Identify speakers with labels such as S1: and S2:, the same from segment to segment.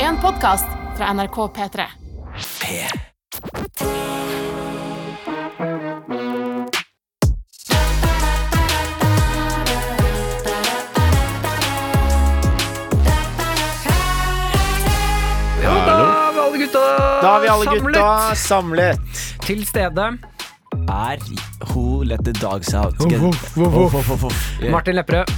S1: en podkast fra NRK P3.
S2: Ja, da var alle gutta
S3: Da har vi alle
S2: samlet.
S3: gutta samlet.
S2: Til stede.
S4: er Who Let The Dogs Out.
S2: Voff, voff, voff, voff.
S4: Voff, voff, voff. Yeah.
S2: Martin Lepperød,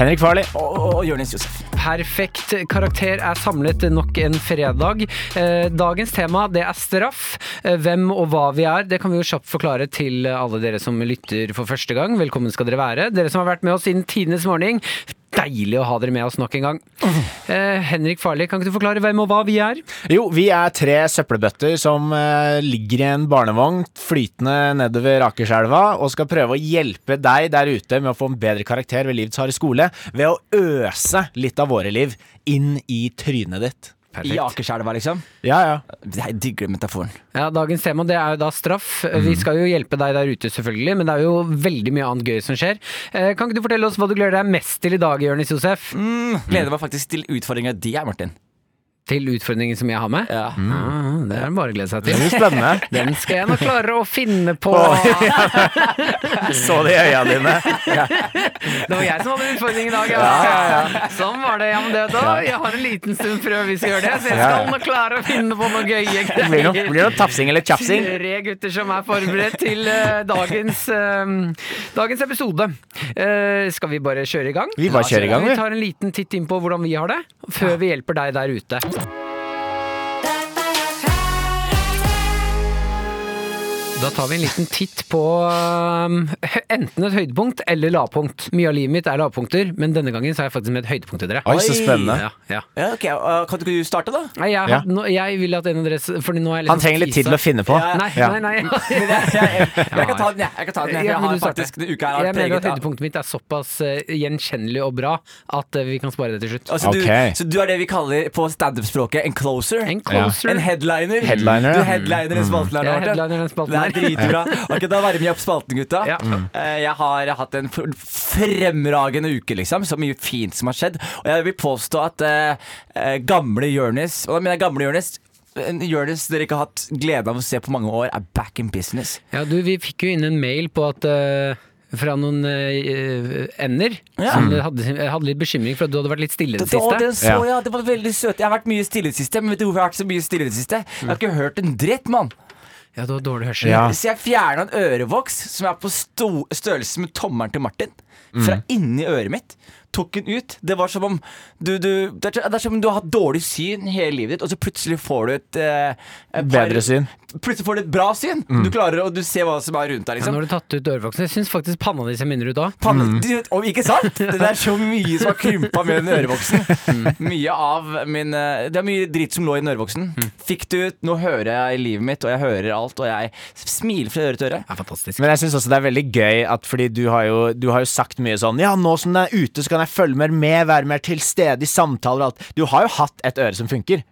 S3: Henrik Farley.
S4: Og og- og Jonis Josef.
S2: perfekt karakter er samlet nok en fredag. Eh, Dagens tema det er straff. Eh, Hvem og hva vi er, det kan vi jo kjapt forklare til alle dere som lytter for første gang. Velkommen skal dere være. Dere som har vært med oss siden tidenes morgen. Deilig å ha dere med oss nok en gang. Eh, Henrik Farley, kan ikke du forklare hvem og hva vi er?
S3: Jo, vi er tre søppelbøtter som eh, ligger i en barnevogn flytende nedover Akerselva og skal prøve å hjelpe deg der ute med å få en bedre karakter ved livets harde skole ved å øse litt av våre liv inn i trynet ditt.
S4: I Akerselva, liksom.
S3: Ja, ja.
S4: Jeg digger metaforen.
S2: Ja, Dagens tema det er jo da straff. Vi skal jo hjelpe deg der ute, selvfølgelig, men det er jo veldig mye annet gøy som skjer. Eh, Kan ikke du fortelle oss hva du gleder deg mest til i dag, Jonis Josef?
S4: Mm, gleder meg faktisk til utfordringa di, jeg, Martin.
S2: Til utfordringen som jeg har med?
S4: Ja.
S2: Ah, det er det bare å glede seg
S3: Det
S2: til.
S3: blir spennende.
S2: Den skal jeg nok klare å finne på.
S3: Så det i øya dine.
S2: Det var jeg som hadde utfordringen i dag, ja. Sånn var det. Ja, men det da, jeg har en liten stund før vi skal gjøre det, så jeg
S3: Ja, ja.
S2: skal nok klare å finne på noe gøye
S3: Det blir noe, blir
S2: greier.
S3: noe tafsing eller tjafsing.
S2: Tre gutter som er forberedt til eh, dagens, eh, dagens episode. Eh, skal vi bare kjøre i gang? altså,
S3: Vi bare kjører i gang,
S2: vi.
S3: vi.
S2: tar en liten titt inn på hvordan vi har det, før vi hjelper deg der ute. Da tar vi en liten titt på um, hø- enten et høydepunkt eller lavpunkt. Mye av livet mitt er lavpunkter, men denne gangen så er jeg faktisk med et høydepunkt til dere.
S3: Oi, så spennende.
S2: Ja, ja.
S4: Ja, ok, og Kan ikke du starte, da?
S2: Nei, jeg,
S3: Ja.
S2: nå, jeg vil at en av dere s- Fordi nå er jeg liksom
S3: Han trenger litt tid til å finne på.
S4: Eh, Ja,
S2: Nei,
S3: Ja.
S2: nei, nei.
S4: Men Jeg, jeg, jeg, jeg kan ta den, jeg. jeg, kan ta den, jeg.
S2: Ja,
S4: jeg
S2: men
S4: har
S2: du starter.
S4: faktisk, denne uka her
S2: Jeg
S4: har
S2: mener at
S4: preget av
S2: høydepunktet mitt er såpass eh, gjenkjennelig og bra at eh, vi kan spare det til slutt.
S4: altså, du,
S3: Ok.
S4: Så du er det vi kaller på standup-språket en closer?
S2: En
S4: Ja.
S2: closer.
S4: En headliner.
S3: Headliner,
S4: Du
S3: ja. Mm.
S4: headliner den spalten her. nå,
S2: Jeg
S4: Martin.
S2: headliner den spalten
S4: det
S2: her.
S4: er dritbra. Ok, Da varmer jeg opp spalten, gutta.
S2: Ja.
S3: Mm.
S4: Eh, Jeg har hatt en f- fremragende uke, liksom. Så mye fint som har skjedd. Og jeg vil påstå at eh, eh, gamle Jonis Og da mener jeg gamle Jonis en Jonis dere ikke har hatt gleden av å se på mange år, er back in business.
S2: Ja, du, vi fikk jo inn en mail på at eh, fra noen eh, ender
S4: Ja.
S2: som hadde, hadde litt bekymring for at du hadde vært litt stille i det
S4: Det, å,
S2: siste.
S4: den så
S3: Ja.
S4: jeg, det var veldig søt. Jeg har vært mye stille i det siste, men vet du hvorfor jeg har vært så mye stille i det siste? Jeg har ikke hørt en dritt, mann.
S2: Ja, du har dårlig hørsel.
S3: Ja.
S4: Så jeg fjerna en ørevoks som er på sto størrelse med tommelen til Martin.
S3: Mm.
S4: Fra inni øret mitt. Tok den ut. Det var som om du, du, det, er, det er som om du har hatt dårlig syn hele livet ditt, og så plutselig får du et eh, et par-
S3: Bedre syn. Mm.
S4: Plutselig får du et bra syn. Du klarer å du ser hva som er rundt deg.
S2: Ja,
S4: Liksom.
S2: nå har du tatt ut ørevoksen. Jeg syns faktisk panna di ser mindre ut da.
S4: Pannen- du, og, ikke sant? Det er så mye som har krympa med den ørevoksen. Mye av min eh, Det er mye dritt som lå i den ørevoksen. Fikk det ut. Nå hører jeg livet mitt, og jeg hører alt, og jeg smiler fra øre til øre.
S2: Ja, fantastisk.
S3: Men jeg syns også det er veldig gøy at fordi du har, jo, du har jo sagt mye sånn Ja, nå som den er ute, så kan jeg følge mer med, være mer til stede i samtaler og alt. Du har jo hatt et øre som funker.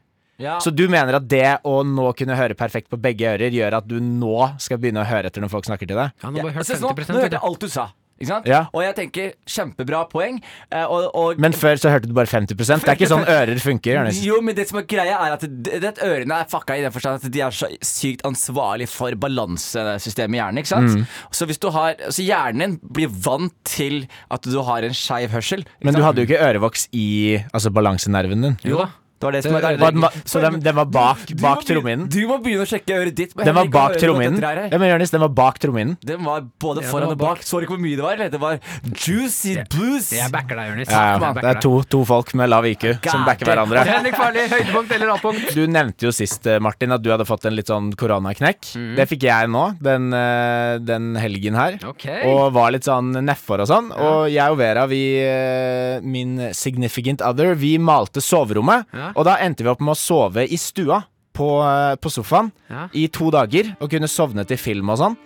S4: Ja.
S3: Så du mener at det å nå kunne høre perfekt på begge ører, gjør at du nå skal begynne å høre etter når folk snakker til deg?
S2: Ja, nå har jeg hørt
S4: Ja, så nå- Nå
S2: 50 vet
S4: hørte jeg
S2: du.
S4: alt du sa. Ikke sant?
S3: Ja.
S4: Og jeg tenker kjempebra poeng. eh, Og, og,
S3: Men før så hørte du bare 50 Det er ikke sånn ører funker. Jonis.
S4: jo, men det som er greia er at det, det, ørene er fucka i den forstand at de er så sykt ansvarlig for balansesystemet i hjernen. ikke sant?
S3: Mm.
S4: Så hvis du har, så hjernen din blir vant til at du har en skeiv hørsel. ikke
S3: Men du
S4: sant?
S3: hadde jo ikke ørevoks i altså balansenerven din.
S2: Jo da.
S4: det var det som
S2: Det-
S4: var
S3: Var den, va- så den, den var bak,
S4: Du må
S3: bak
S4: begynne-
S3: trommehinnen?
S4: Du må begynne å sjekke øret ditt. men
S3: Den var
S4: Henrik,
S3: bak
S4: øret ditt
S3: trommehinnen?
S4: etter her.
S3: Ja, men Jonis, den var bak trommehinnen.
S4: Den var både
S2: Ja,
S4: foran
S2: den
S4: og
S2: var
S4: bak. Så du ikke hvor mye det var? eller? Det var juicy blues.
S2: Jeg backer deg, Jonis.
S3: Ja, ja.
S2: Jeg backer
S3: Det er
S2: deg.
S3: to, to folk med lav IQ som
S4: God
S3: backer
S4: damn.
S3: hverandre.
S2: Henrik Farley, høydepunkt eller lavpunkt?
S3: Du nevnte jo sist, eh, Martin, at du hadde fått en litt sånn koronaknekk.
S2: Mm.
S3: Det fikk jeg nå, den, eh, den helgen her.
S2: Ok.
S3: Og var litt sånn nedfor og sånn. Og jeg og Vera, vi, eh, min significant other, vi malte soverommet.
S2: Ja.
S3: Og da endte vi opp med å sove i stua. På, eh, på sofaen
S2: Ja.
S3: i to dager og kunne sovne til film og sånn.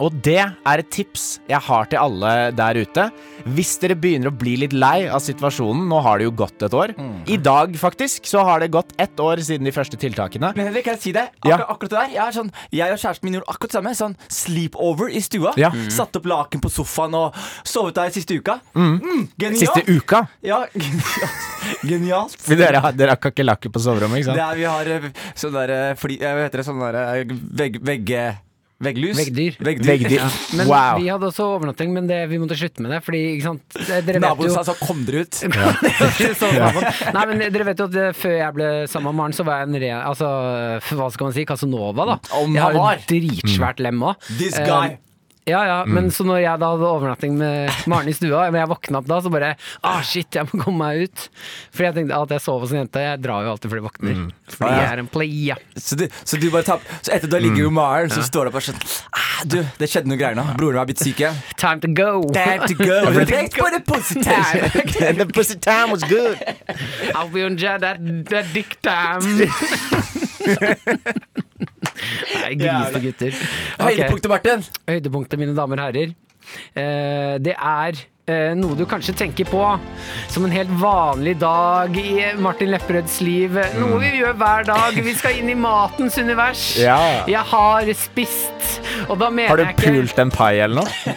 S3: Og det er et tips jeg har til alle der ute. Hvis dere begynner å bli litt lei av situasjonen, nå har det jo gått et år.
S2: Mm.
S3: I dag, faktisk, så har det gått ett år siden de første tiltakene.
S4: Men Henrik, kan jeg si deg akkur
S3: Ja.
S4: akkurat det der? Jeg, er sånn, jeg og kjæresten min gjorde akkurat det samme. Sånn sleepover i stua. Mm.
S3: Ja.
S4: Satt opp laken på sofaen og sovet der siste uka. Mm, genialt!
S3: Siste uka.
S4: Ja, genialt. genialt.
S3: For Dere, har- dere har kakerlakker på soverommet, ikke sant?
S4: Det er, vi har eh, sånn der eh, fly... eh, Hva heter det? Sånn der eh, vegg... vegg eh, Vegglyss?
S2: Veggdyr.
S3: Veggdyr.
S2: Men
S3: Wow.
S2: vi hadde også overnatting, men det, vi måtte slutte med det. Fordi, ikke sant Dere vet
S4: Naboen
S2: jo
S4: sa sånn, kom dere ut.
S2: Så naboen. Nei, men dere vet jo at eh, før jeg ble sammen med Maren, så var jeg en re... Altså, f- hva skal man si? Casanova, da.
S4: Om
S2: jeg har
S4: han
S2: jo
S4: var.
S2: dritsvært lem òg.
S4: This guy. Mm.
S2: ja, ja, men så når jeg da hadde overnatting med Maren i stua, men jeg våkna opp da, så bare Ah, shit, jeg må komme meg ut. Fordi jeg tenkte at jeg sov hos en jente. Jeg drar jo alltid fordi jeg våkner. Fordi
S4: Ah, ja.
S2: jeg er en playa.
S4: Så du, så du bare tapp, så etter du har
S3: Mm.
S4: ligget i Maren, så står du bare sånn ah, Du, det skjedde noe greier nå. Broren min har blitt syk igjen.
S2: Time to go!
S4: Time to go. Tenk på det positive.
S3: The pussy time was good.
S2: I'll be on jet at the dick time! Nei, grisete gutter. Ok.
S4: Høydepunktet, Martin.
S2: Høydepunktet, mine damer og herrer, eh, det er eh, noe du kanskje tenker på som en helt vanlig dag i Martin Lepperøds liv.
S3: Mm.
S2: Noe vi gjør hver dag. Vi skal inn i matens univers.
S3: Ja.
S2: Jeg har spist, og da mener
S3: Har du
S2: jeg ikke
S3: pult en pai eller noe?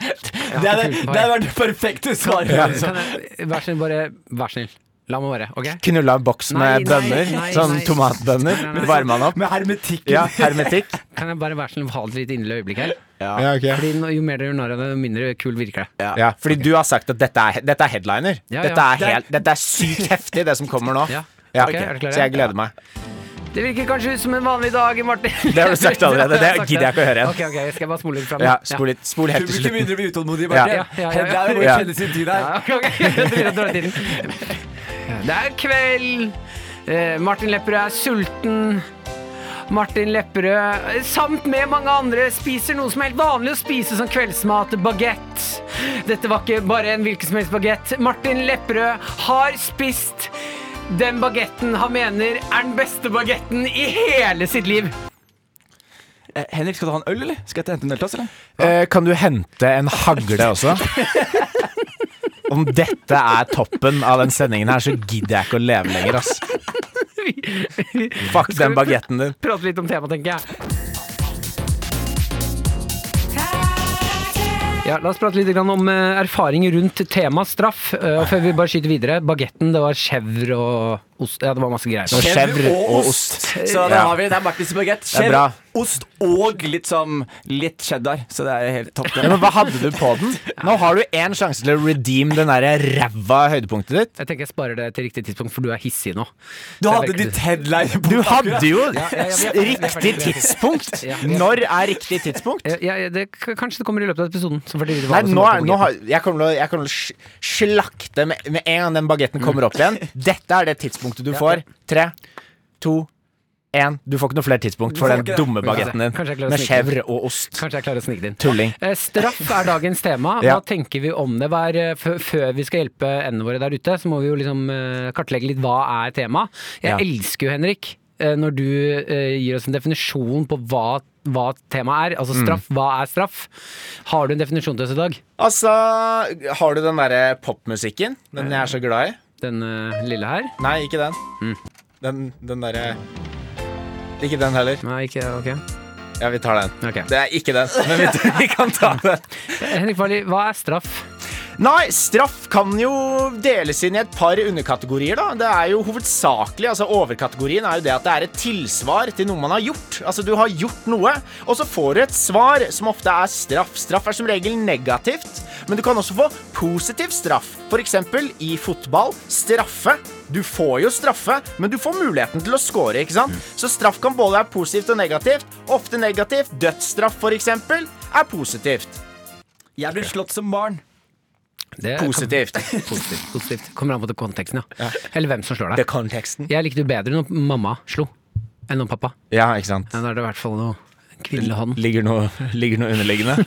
S4: Det hadde det hadde vært det perfekte svaret. Liksom.
S2: Kan jeg- Vær snill, bare Vær snill. La meg være, OK?
S3: Knulla en boks
S2: Nei,
S3: med
S2: nei,
S3: bønner?
S2: nei,
S3: Sånn
S2: nei.
S3: tomatbønner?
S2: Nei, nei, nei.
S3: Varma den opp?
S4: Med hermetikken.
S3: Ja, hermetikk.
S2: Kan jeg bare være snill ha et lite innlille øyeblikk her?
S3: Ja, ok.
S2: Fordi nå- Jo mer dere gjør narr av det, jo mindre kul virker det.
S3: Ja, fordi du har sagt at dette er, dette er headliner.
S2: Ja, ja.
S3: Dette,
S2: Det
S3: er
S2: er-
S3: helt, dette er sykt heftig, det som kommer nå.
S2: Ja. Ok,
S3: Ja,
S2: er dere klare?
S3: Så jeg gleder meg.
S2: Det virker kanskje ut som en vanlig dag, Martin.
S3: Det har du sagt allerede. Det gidder jeg ikke å høre igjen.
S2: Ok, ok, skal jeg bare spole litt fram?
S3: Ja, spol, litt, spol helt
S4: Publikum
S3: til slutten.
S4: begynner å bli utålmodig.
S3: Ja,
S4: Martin.
S2: ja, ja, ja.
S4: Det er jo hvor
S3: Ja.
S4: kjenne sin tid her.
S2: Ja, ok, ok. Det blir å dra ut tiden. Det er kveld. Eh, Martin Lepperød er sulten. Martin Lepperød, eh, samt med mange andre, spiser noe som er helt vanlig å spise som kveldsmat, bagett. Dette var ikke bare en hvilken som helst bagett. Martin Lepperød har spist den bagetten han mener er den beste bagetten i hele sitt liv.
S4: Eh, Henrik, skal du ha en øl, eller? Skal jeg hente en øl til oss, eller?
S3: Eh, kan du hente en hagle også? Om dette er toppen av den sendingen her, så gidder jeg ikke å leve lenger, ass. Fuck den bagetten din.
S2: Prate litt om temaet, tenker jeg. Ja, La oss prate litt grann om eh, erfaring rundt temaet straff. eh, Og før vi bare skyter videre, bagetten, det var chèvre og ost Ja, det var masse greier.
S3: Og chèvre og
S4: Så da
S3: Ja.
S4: har vi det er Martins bagett.
S3: er
S4: Chèvre,
S3: bra.
S4: ost og litt sånn litt cheddar. Så det er helt topp.
S3: Ja,
S4: Det.
S3: men hva hadde du på den? Nå har du én sjanse til å redeem den der ræva høydepunktet ditt.
S2: Jeg tenker jeg sparer det til riktig tidspunkt, for du er hissig nå.
S4: Du hadde ditt headline på
S3: Du hadde jo
S2: ja, ja, vi er ferdig, vi er ferdig, vi
S3: riktig
S2: er ferdig.
S3: tidspunkt.
S2: Ja.
S3: Når er riktig tidspunkt?
S2: Eh, Ja, ja, det, k- kanskje det kommer i løpet av episoden. Så får dere vite hva som
S3: Nei, nå,
S2: var
S3: er,
S2: på bagetten.
S3: nå har, jeg kommer til å- jeg kommer til å sl- slakte med, med en gang den bagetten kommer opp igjen. Dette er det tidspunktet du får. Tre, to, én. Du får ikke noe flere tidspunkt for
S4: får
S3: den
S4: ikke det.
S3: dumme
S2: Kanskje-
S3: bagetten din
S2: kanskje jeg klarer å
S3: med
S2: snike
S3: chèvre og ost.
S2: Kanskje jeg klarer å snike det inn.
S3: Tulling.
S2: Eh, Straff er dagens tema. Hva
S3: Ja.
S2: tenker vi om det? Hva er, eh, f- før vi skal hjelpe endene våre der ute, så må vi jo liksom eh, kartlegge litt hva er tema. Jeg
S3: Ja.
S2: elsker jo, Henrik, eh, når du eh, gir oss en definisjon på hva, hva temaet er. Altså
S3: Mm.
S2: straff. Hva er straff? Har du en definisjon til oss i dag?
S3: Altså, har du den derre popmusikken? Den jeg er så glad i?
S2: Den eh, lille her?
S3: Nei, ikke den. Den, den derre Ikke den heller.
S2: Nei, ikke Ok.
S3: Ja, vi tar den.
S2: Ok.
S3: Det er ikke den, men vi, vi kan ta den.
S2: Henrik Farli, hva er straff?
S3: Nei, straff kan jo deles inn i et par underkategorier, da. Det er jo hovedsakelig, altså Overkategorien er jo det at det er et tilsvar til noe man har gjort. Altså, du har gjort noe, og så får du et svar som ofte er straff. Straff er som regel negativt, men du kan også få positiv straff. F.eks. i fotball. Straffe. Du får jo straffe, men du får muligheten til å score, ikke sant? Så straff kan både være positivt og negativt. Ofte negativt. Dødsstraff, f.eks., er positivt.
S4: Jeg ble slått som barn.
S2: Det er-
S3: Positivt.
S2: Positivt. positivt. Kommer an på konteksten, ja. Eller hvem som slår deg.
S3: konteksten.
S2: Jeg likte jo bedre når mamma slo enn når pappa.
S3: Ja, ikke sant.
S2: Ja, da er det i hvert fall noe Kvinnehann.
S3: Ligger noe, ligger noe underliggende.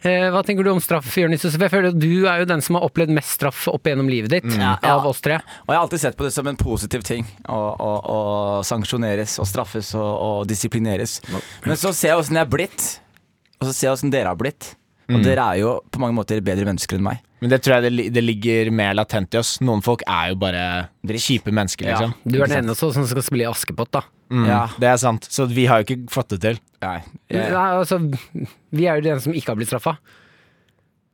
S2: Eh, hva tenker du om straff, Jonis? Josef? Jeg føler at Du er jo den som har opplevd mest straff opp gjennom livet ditt,
S4: Mm. Ja, ja.
S2: av oss tre.
S4: Og jeg har alltid sett på det som en positiv ting. Å, å, å sanksjoneres og straffes og, og disiplineres. Men så ser jeg åssen jeg er blitt, og så ser jeg åssen dere har blitt. Og
S3: Mm.
S4: dere er jo på mange måter bedre mennesker enn meg.
S3: Men det tror jeg det, li- det ligger mer latent i oss. Noen folk er jo bare kjipe mennesker,
S4: Ja.
S3: liksom.
S2: Du er den eneste som skal spille i Askepott, da.
S3: Mm,
S4: Ja.
S3: Det er sant. Så vi har jo ikke fått det til.
S4: Nei, jeg,
S2: Nei, altså, vi er jo den som ikke har blitt straffa.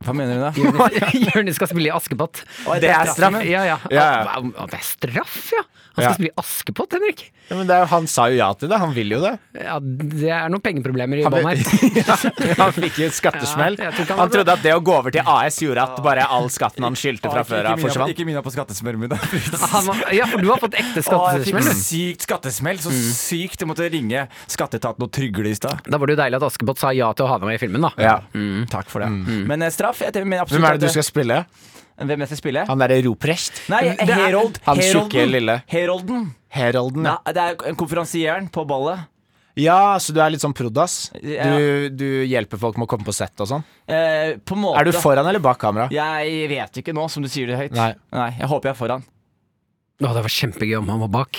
S4: hva mener du da?
S2: Jonis skal spille i Askepott.
S4: Oi, det er straff.
S2: Ja, ja.
S3: Ja, ja.
S2: Ah, wow, Det er straff, ja! Han skal
S3: Ja.
S2: spille i Askepott, Henrik.
S3: Ja, men det er, jo- han sa jo ja til det. Han vil jo det.
S2: Ja, det er noen pengeproblemer i
S3: Han,
S2: bånn her.
S3: han fikk jo et skattesmell.
S2: Ja, jeg tror ikke han
S3: han
S2: hadde-
S3: trodde at det å gå over til AS gjorde at bare all skatten han skyldte fra før av,
S4: Ikke mina-
S3: forsvant.
S4: Ikke mina på skattesmell, men da.
S2: Han var- Ja, for du har fått ekte
S4: Å, jeg fikk
S2: skattesmell. du.
S4: sykt skattesmell. Så
S3: Mm.
S4: sykt. Jeg måtte ringe skatteetaten og trygle i stad.
S2: Da var det jo deilig at Askepott sa ja til å ha deg med i filmen, da.
S3: Ja. Mm.
S4: Takk for det. Men eh, straff jeg mener absolutt
S3: Hvem er det
S4: at eh,
S3: du skal spille?
S4: Hvem jeg skal spille?
S3: Han derre Roprecht?
S4: Nei,
S2: er-
S4: Herold.
S3: Han
S4: Herolden.
S3: tjukke lille.
S4: Herolden.
S3: Herolden, ja.
S4: Ja, det er konferansieren på ballet.
S3: Ja, så du er litt sånn prodas?
S4: Ja.
S3: Du, du hjelper folk med å komme på sett og sånn?
S4: Eh, på en måte.
S3: Er du foran eller bak kamera?
S4: Jeg vet ikke nå, som du sier det høyt.
S3: Nei.
S4: jeg håper jeg er foran.
S2: Å, det var kjempegøy om han var bak.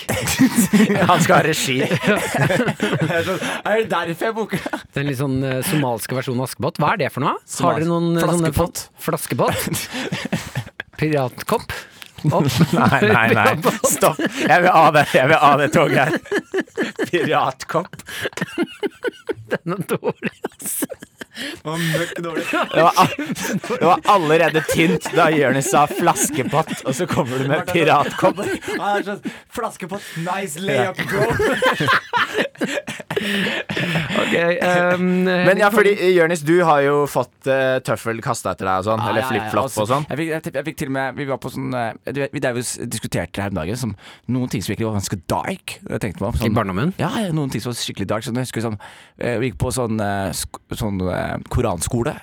S3: Han skal ha regi.
S4: er det derfor jeg booker?
S2: Den litt sånn eh, somaliske versjonen av Askepott. Hva er det for noe? Har dere noen eh,
S4: Flaskepott.
S2: Sånne, flaskepott? Piratkopp? Opp.
S3: Nei, nei, nei. Stopp. Jeg vil av det, jeg vil av det toget her. Piratkopp.
S2: Den er dårlig.
S3: Det var, all- det var allerede tynt da Jonis sa flaskepott, og så kommer du med piratkopp.
S4: Han er sånn Flaskepott, nice layup, bro. eh,
S2: Ok, ehm,
S3: Men ja, fordi Jonis, du har jo fått eh, tøffel kasta etter deg og sånn, eller
S4: Ja, ja, ja,
S3: flip-flop
S4: altså,
S3: og sånn.
S4: Jeg fikk, jeg, fikk- jeg fikk til og med Vi var på sånn eh, du vet, Vi der vi s- diskuterte her om dagen som noen ting som virkelig var ganske dark. Jeg tenkte meg om
S2: I
S4: sånn,
S2: barndommen?
S4: Ja, ja, noen ting som var skikkelig dark. Sånn, jeg husker sånn, eh, Vi gikk på sånn, eh, sk sånn eh, koranskole.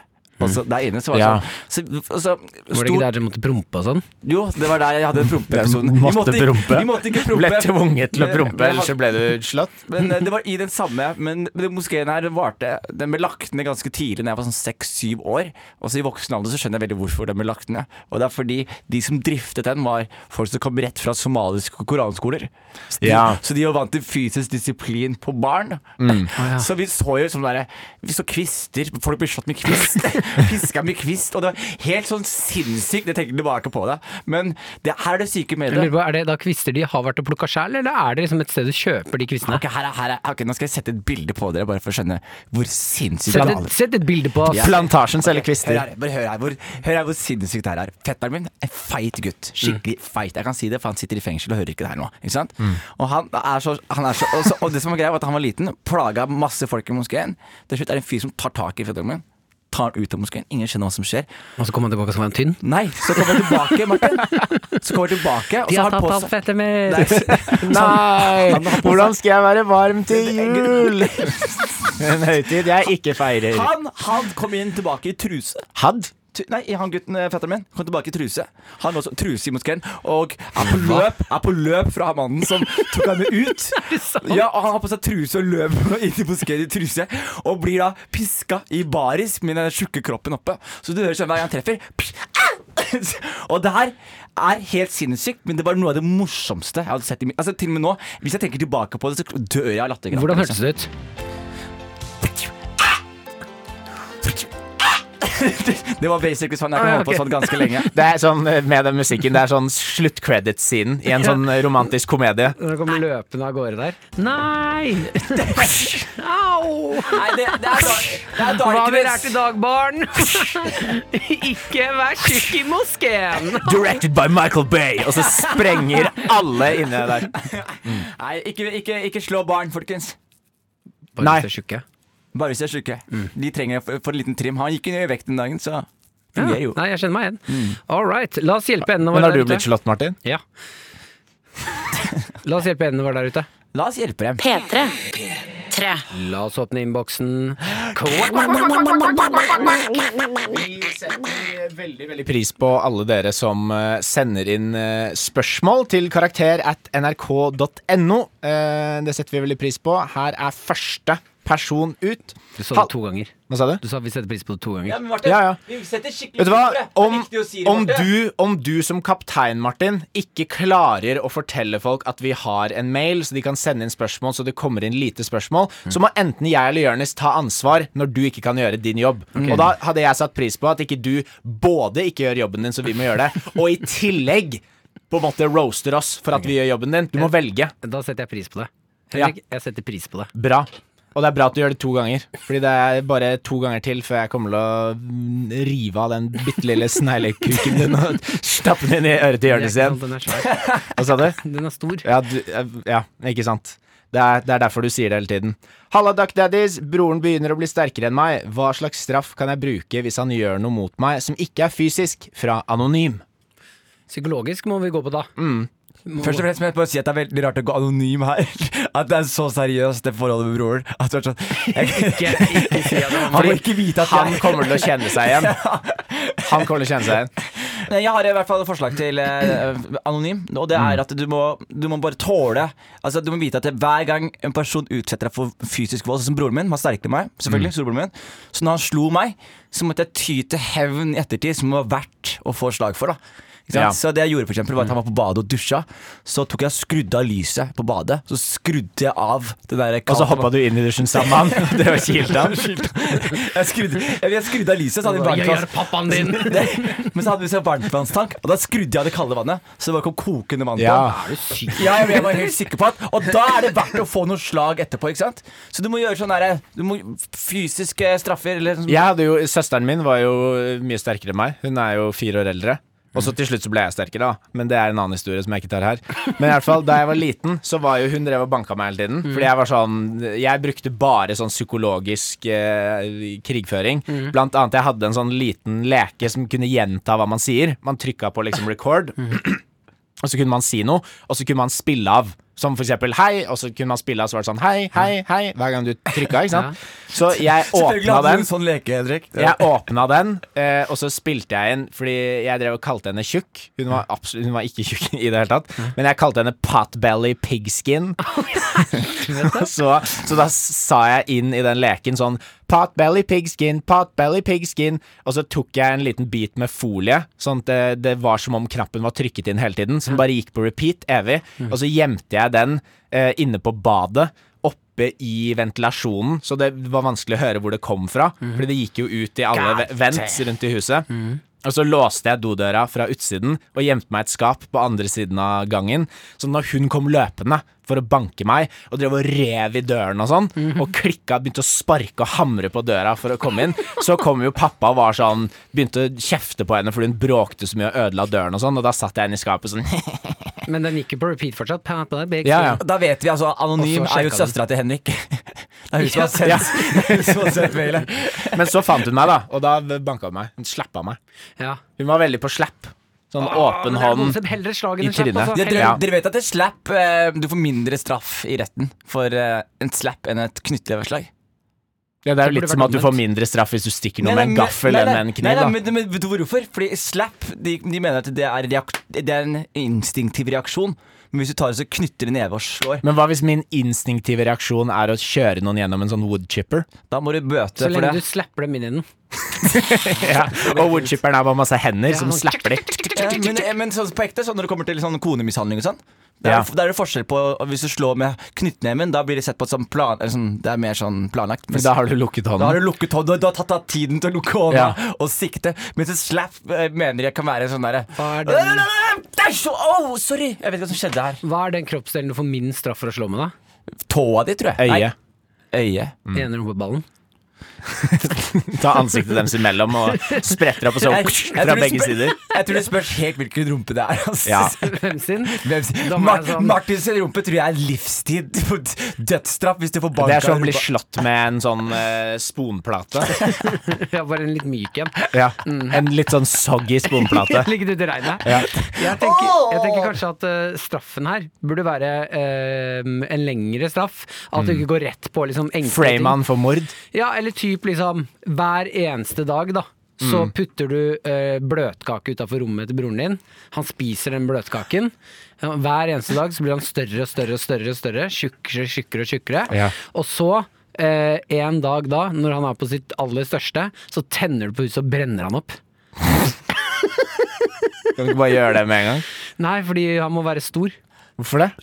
S4: Og så der inne så var det
S3: Mm. Ja.
S4: sånn så, og så,
S2: Var det
S4: stor-
S2: ikke der dere måtte prompe og sånn?
S4: Jo, det var der jeg hadde den prompeepisoden.
S3: Den
S4: Vi
S3: måtte
S4: ikke-
S3: prompe.
S4: Vi måtte ikke
S3: Ble
S4: prompe.
S3: tvunget til å prompe,
S4: Men-
S3: ellers så ble du slått.
S4: Men eh, det var i den samme Men den moskeen her den varte Den ble lagt ned ganske tidlig Da jeg var sånn 6-7 år Og så i voksen alder så skjønner jeg veldig hvorfor den ble lagt ned Og det er fordi de som driftet den var Folk som kom rett fra somaliske koranskoler Så de,
S3: Ja.
S4: så de var vant til fysisk disiplin på barn Så vi så jo sånn der Vi så kvister Folk ble slått med kvist Piska med kvist Og det var helt sånn sinnssykt Jeg tenker tilbake på det Men det, her er det syke med
S2: Jeg
S4: det
S2: lurer på, Er det da kvister de har vært og plukka sjæl, eller er det liksom et sted du kjøper de kvistene?
S4: Ok, her er, her er, ok, Nå skal jeg sette et bilde på dere, bare for å skjønne hvor sinnssykt
S2: Sett
S4: det
S2: et,
S4: er.
S2: sett et bilde på oss.
S4: Ja.
S3: Plantasjen selger
S4: Hør
S3: kvister.
S4: her, bare hør her, hvor, hør her hvor sinnssykt det her er. Fetteren min, en feit gutt.
S2: Mm.
S4: Skikkelig feit. Jeg kan si det, for han sitter i fengsel og hører ikke det her nå. Ikke sant? Og, han er så, han er så, og, så, og det som var greia, var at han var liten, plaga masse folk i moskeen. Til slutt er det en fyr som tar tak i fetteren min. Tar han ut av moskeen. Ingen skjønner hva som skjer.
S2: Og så kommer han tilbake som en tynn.
S4: Nei, så kommer han tilbake, Martin. Så kommer han tilbake, og
S2: De
S4: så
S2: har
S4: har han
S2: tatt
S4: på
S2: alt
S4: seg
S2: fettet mitt!
S4: Nei, så-
S3: Nei!
S4: Han har på seg-
S3: Hvordan skal jeg være varm til jul? En høytid jeg ikke feirer.
S4: han, han kom inn tilbake i truse.
S3: Hadd?
S4: Tu- Nei, han gutten, eh, fetteren min, kom tilbake i truse. Han også truse i moskeen, og er på løp, er på løp fra mannen som tok henne ut. Ja, og Han har på seg truse og løper inn i moskeen i truse, og blir da piska i baris med den tjukke kroppen oppe. Så du hører sånn hver gang han treffer. psh, ah! Og det her er helt sinnssykt, men det var noe av det morsomste jeg hadde sett i min Altså til og med nå, hvis jeg tenker tilbake på det, så dør jeg av altså. latterkrampe.
S2: Hvordan hørtes det ut?
S4: Det var basically sånn jeg kan
S2: Ah, ja,
S4: holde på
S2: ok.
S4: sånn ganske lenge.
S3: Det er sånn eh, med den musikken, det er sånn slutt-credits-scenen i en sånn eh, romantisk komedie.
S2: Når han kommer løpende av gårde der. Nei! Au!
S4: Nei, det, det er da- det er
S2: Hva har vi
S4: darkness.
S2: lært i dag, barn? Ikke vær tjukk i moskeen!
S3: Directed by Michael Bay! Og så sprenger alle inne der.
S4: Nei, ikke, ikke, ikke slå barn, folkens.
S2: Bare
S3: Nei.
S2: hvis de er tjukke.
S4: Bare hvis de er syke.
S3: Mm.
S4: De trenger å få få en liten trim. Han gikk ned i vekt den dagen, så
S2: Ja.
S4: fungerer jo.
S2: Nei, jeg kjenner meg igjen. All right, la oss hjelpe endene
S3: Men
S2: våre
S3: har du blitt slått, Martin?
S2: Ja. La oss hjelpe endene våre der ute.
S4: La oss hjelpe dem.
S1: P3. P3.
S2: La oss åpne innboksen.
S3: Vi setter veldig, veldig pris på alle dere som eh, sender inn eh, spørsmål til karakter at nrk.no. Eh, Det setter vi veldig pris på. Her er første person ut.
S2: Du sa
S3: Hal-
S2: det to ganger.
S3: Hva sa du?
S2: Du sa vi setter pris på det to ganger.
S4: Ja, men Martin,
S3: Ja, ja.
S4: vi setter skikkelig
S3: Vet du hva?
S4: pris på det. Det er
S3: Om,
S4: viktig å si det,
S3: om,
S4: Martin.
S3: du, om du som kaptein, Martin, ikke klarer å fortelle folk at vi har en mail, så de kan sende inn spørsmål, så det kommer inn lite spørsmål, så må enten jeg eller Jonis ta ansvar når du ikke kan gjøre din jobb. Og da hadde jeg satt pris på at ikke du både ikke gjør jobben din, så vi må gjøre det, og i tillegg på en måte roaster oss for at vi gjør jobben din. Du må velge.
S2: Da setter jeg pris på det.
S3: Ja.
S2: Henrik, jeg setter pris på det.
S3: Bra. Og det er bra at du gjør det to ganger, Fordi det er bare to ganger til før jeg kommer til å mm, rive av den bitte lille sneglekuken din og stappe den inn i øret til
S2: Det er
S3: Jonis
S2: ikke
S3: igjen.
S2: sant, Den er svær.
S3: Hva sa du?
S2: Den er stor.
S3: Ja, du, eh, ja ikke sant. Det er, det er derfor du sier det hele tiden. Halla, Duck Daddies. Broren begynner å bli sterkere enn meg. Hva slags straff kan jeg bruke hvis han gjør noe mot meg som ikke er fysisk? Fra Anonym.
S2: Psykologisk må vi gå på da.
S3: Mm.
S2: Må-
S4: Først og fremst må jeg bare si at det er veldig rart å gå anonym her. At det er så seriøst, det forholdet med broren. At det er sånn jeg,
S2: Ikke, ikke si at det var
S4: Han
S2: meg.
S4: må ikke vite at
S3: Han
S4: jeg
S3: kommer til å kjenne seg igjen. Han kommer til å kjenne seg igjen.
S4: Nei, Eh, Jeg har i hvert fall et forslag til eh, anonym, og det
S3: Mm.
S4: er at du må, du må bare tåle Altså Du må vite at det, hver gang en person utsetter deg for fysisk vold, sånn som broren min, han var sterkere enn meg, selvfølgelig,
S3: Mm.
S4: storebroren min, så når han slo meg, så måtte jeg ty til hevn i ettertid, som var verdt å få slag for. da Ikke sant? Så
S3: Ja.
S4: det jeg gjorde for eksempel, var at Han var på badet og dusja. Så tok jeg og skrudde av lyset på badet. Så skrudde jeg av det der
S3: Og så hoppa du inn i dusjen sammen med han. Det var kilt han.
S4: Jeg skrudde, jeg, jeg skrudde av lyset, så hadde vi
S2: Jeg gjør
S4: varmtvann.
S2: pappaen din!
S4: Det, men så hadde vi så varmtvannstank, og da skrudde jeg av det kalde vannet. Så det bare kom kokende vann på.
S3: Ja.
S2: Er du syk?
S4: Ja, jeg var helt sikker på at Og da er det verdt å få noen slag etterpå, ikke sant? Så du må gjøre sånn derre Du må fysiske straffer eller sånn.
S3: Jeg hadde jo, Søsteren min var jo mye sterkere enn meg. Hun er jo fire år eldre. Og
S4: Mm.
S3: så til slutt så ble jeg sterkere, da. Men det er en annen historie som jeg ikke tar her. Men i hvert fall, da jeg var liten, så var jo hun drev og banka meg hele tiden.
S4: Mm.
S3: Fordi jeg var sånn Jeg brukte bare sånn psykologisk eh, krigføring.
S4: Mm.
S3: Blant annet, jeg hadde en sånn liten leke som kunne gjenta hva man sier. Man trykka på liksom record,
S4: Mm.
S3: og så kunne man si noe, og så kunne man spille av. Som for eksempel hei, og så kunne man spille av, så var det sånn hei, hei, hei, hver gang du trykka, ikke sant. Så jeg
S4: Selvfølgelig
S3: åpna
S4: hadde du
S3: den.
S4: en sånn leke, Henrik.
S3: Jeg åpna den, eh, og så spilte jeg inn fordi jeg drev og kalte henne tjukk. Hun var, absolutt, hun var ikke tjukk i det hele tatt, men jeg kalte henne potbelly pigskin. Og så, så da sa jeg inn i den leken sånn potbelly pigskin, potbelly pigskin, og så tok jeg en liten bit med folie, sånn at det, det var som om knappen var trykket inn hele tiden, som bare gikk på repeat evig, og så gjemte jeg den eh, inne på badet. Oppe i ventilasjonen, så det var vanskelig å høre hvor det kom fra. Fordi det gikk jo ut i alle ve-
S2: God
S3: vents rundt i huset. Og så låste jeg dodøra fra utsiden og gjemte meg i et skap på andre siden av gangen. Så når hun kom løpende for å banke meg og drev og rev i døren og sånn, og klikka, begynte å sparke og hamre på døra for å komme inn, så kom jo pappa og var sånn Begynte å kjefte på henne fordi hun bråkte så mye og ødela døren og sånn, og da satt jeg inne i skapet sånn
S2: Men den gikk jo på repeat fortsatt. Pappa, big
S3: Ja, ja.
S4: Da vet vi altså Anonym
S2: Og så
S4: er jo
S2: sjekka
S4: søstera til Henrik. Det er hun som har sendt,
S3: Ja.
S4: hun som har sendt mailen.
S3: Men så fant hun meg, da, og da banka hun meg. Hun slappa meg.
S2: Ja.
S3: Hun var veldig på slapp. Sånn
S2: Ah, men
S3: åpen
S2: det er noen
S3: hånd.
S2: som heller slag
S3: i
S2: enn en slapp,
S3: trynet.
S2: altså.
S4: Ja, dere,
S3: Ja.
S4: dere vet at en slap eh, Du får mindre straff i retten for eh, en slap enn et knyttleverslag.
S3: Ja, det
S2: Det
S3: er jo litt
S2: burde
S3: som
S2: vært
S3: at du får mindre straff hvis du stikker noe med en gaffel
S4: nei,
S3: enn
S4: nei,
S3: med en
S4: nei,
S3: kniv,
S4: nei,
S3: da.
S4: men, men vet du hvorfor? Fordi slap de, de mener at det er, reak det er en instinktiv reaksjon. Men hvis du tar det, så knytter det neve og slår.
S3: Men hva hvis min instinktive reaksjon er å kjøre noen gjennom en sånn woodchipper?
S4: Da må du bøte
S2: Så
S4: for
S2: lenge
S4: det.
S2: du slapper dem inn i den.
S3: Ja. Og woodchipperen er bare masse hender som
S2: sånn
S3: slapper de.
S4: Ja, men men sånn på ekte, sånn når det kommer til sånn konemishandling og sånn da er,
S3: Ja.
S4: det- da er det forskjell på Hvis du slår med knyttneven, da blir det sett på som plan... Eller sånn, det er mer sånn planlagt. Mens-
S3: Da har du lukket
S4: Da har
S3: hånden.
S4: du lukket hånda, du har tatt av tiden til å lukke hånda
S3: Ja.
S4: og sikte. Mens en slap eh, mener jeg kan være sånn derre
S2: Hva er den-
S4: Æsj! Au, sorry! Jeg vet ikke hva som skjedde her.
S2: Hva er den kroppsdelen du får minst straff for å slå med, da?
S4: Tåa di, tror jeg.
S3: Øye.
S4: Nei, øye.
S3: Mm.
S2: Den ene rumpeballen?
S3: Ta ansiktet deres imellom og spretter opp og
S4: Jeg-
S3: så
S4: jeg
S3: fra
S4: tror det
S3: begge
S4: spør-
S3: sider.
S4: Jeg tror det spørs helt hvilken rumpe det er. Altså.
S3: Ja.
S2: Hvem sin?
S4: Hvem sier-
S2: Da må
S4: Mar
S2: jeg sånn-
S4: Martins rumpe tror jeg er livstid for dødsstraff hvis du får bank
S3: Det er som
S4: av
S3: å bli
S4: rumpa.
S3: slått med en sånn eh, sponplate.
S2: Ja, bare en litt myk en.
S3: Ja. En litt sånn soggy sponplate.
S2: Ligget ute i regnet.
S3: Ja.
S2: Jeg tenker, jeg tenker kanskje at eh, straffen her burde være eh, en lengre straff. At du ikke går rett på liksom enkle
S3: Mm. Frame han for mord.
S2: Ja, eller ty typ liksom hver eneste dag, da. Så
S3: Mm.
S2: putter du eh, bløtkake utafor rommet til broren din. Han spiser den bløtkaken. Ja, Hver eneste dag så blir han større og større og større. og større Tjukkere tjukkere og tjukkere.
S3: Ja.
S2: Og så, eh, en dag da, når han er på sitt aller største, så tenner du på huset og brenner han opp.
S3: Kan du ikke bare gjøre det med en gang?
S2: Nei, fordi han må være stor.
S3: Hvorfor det?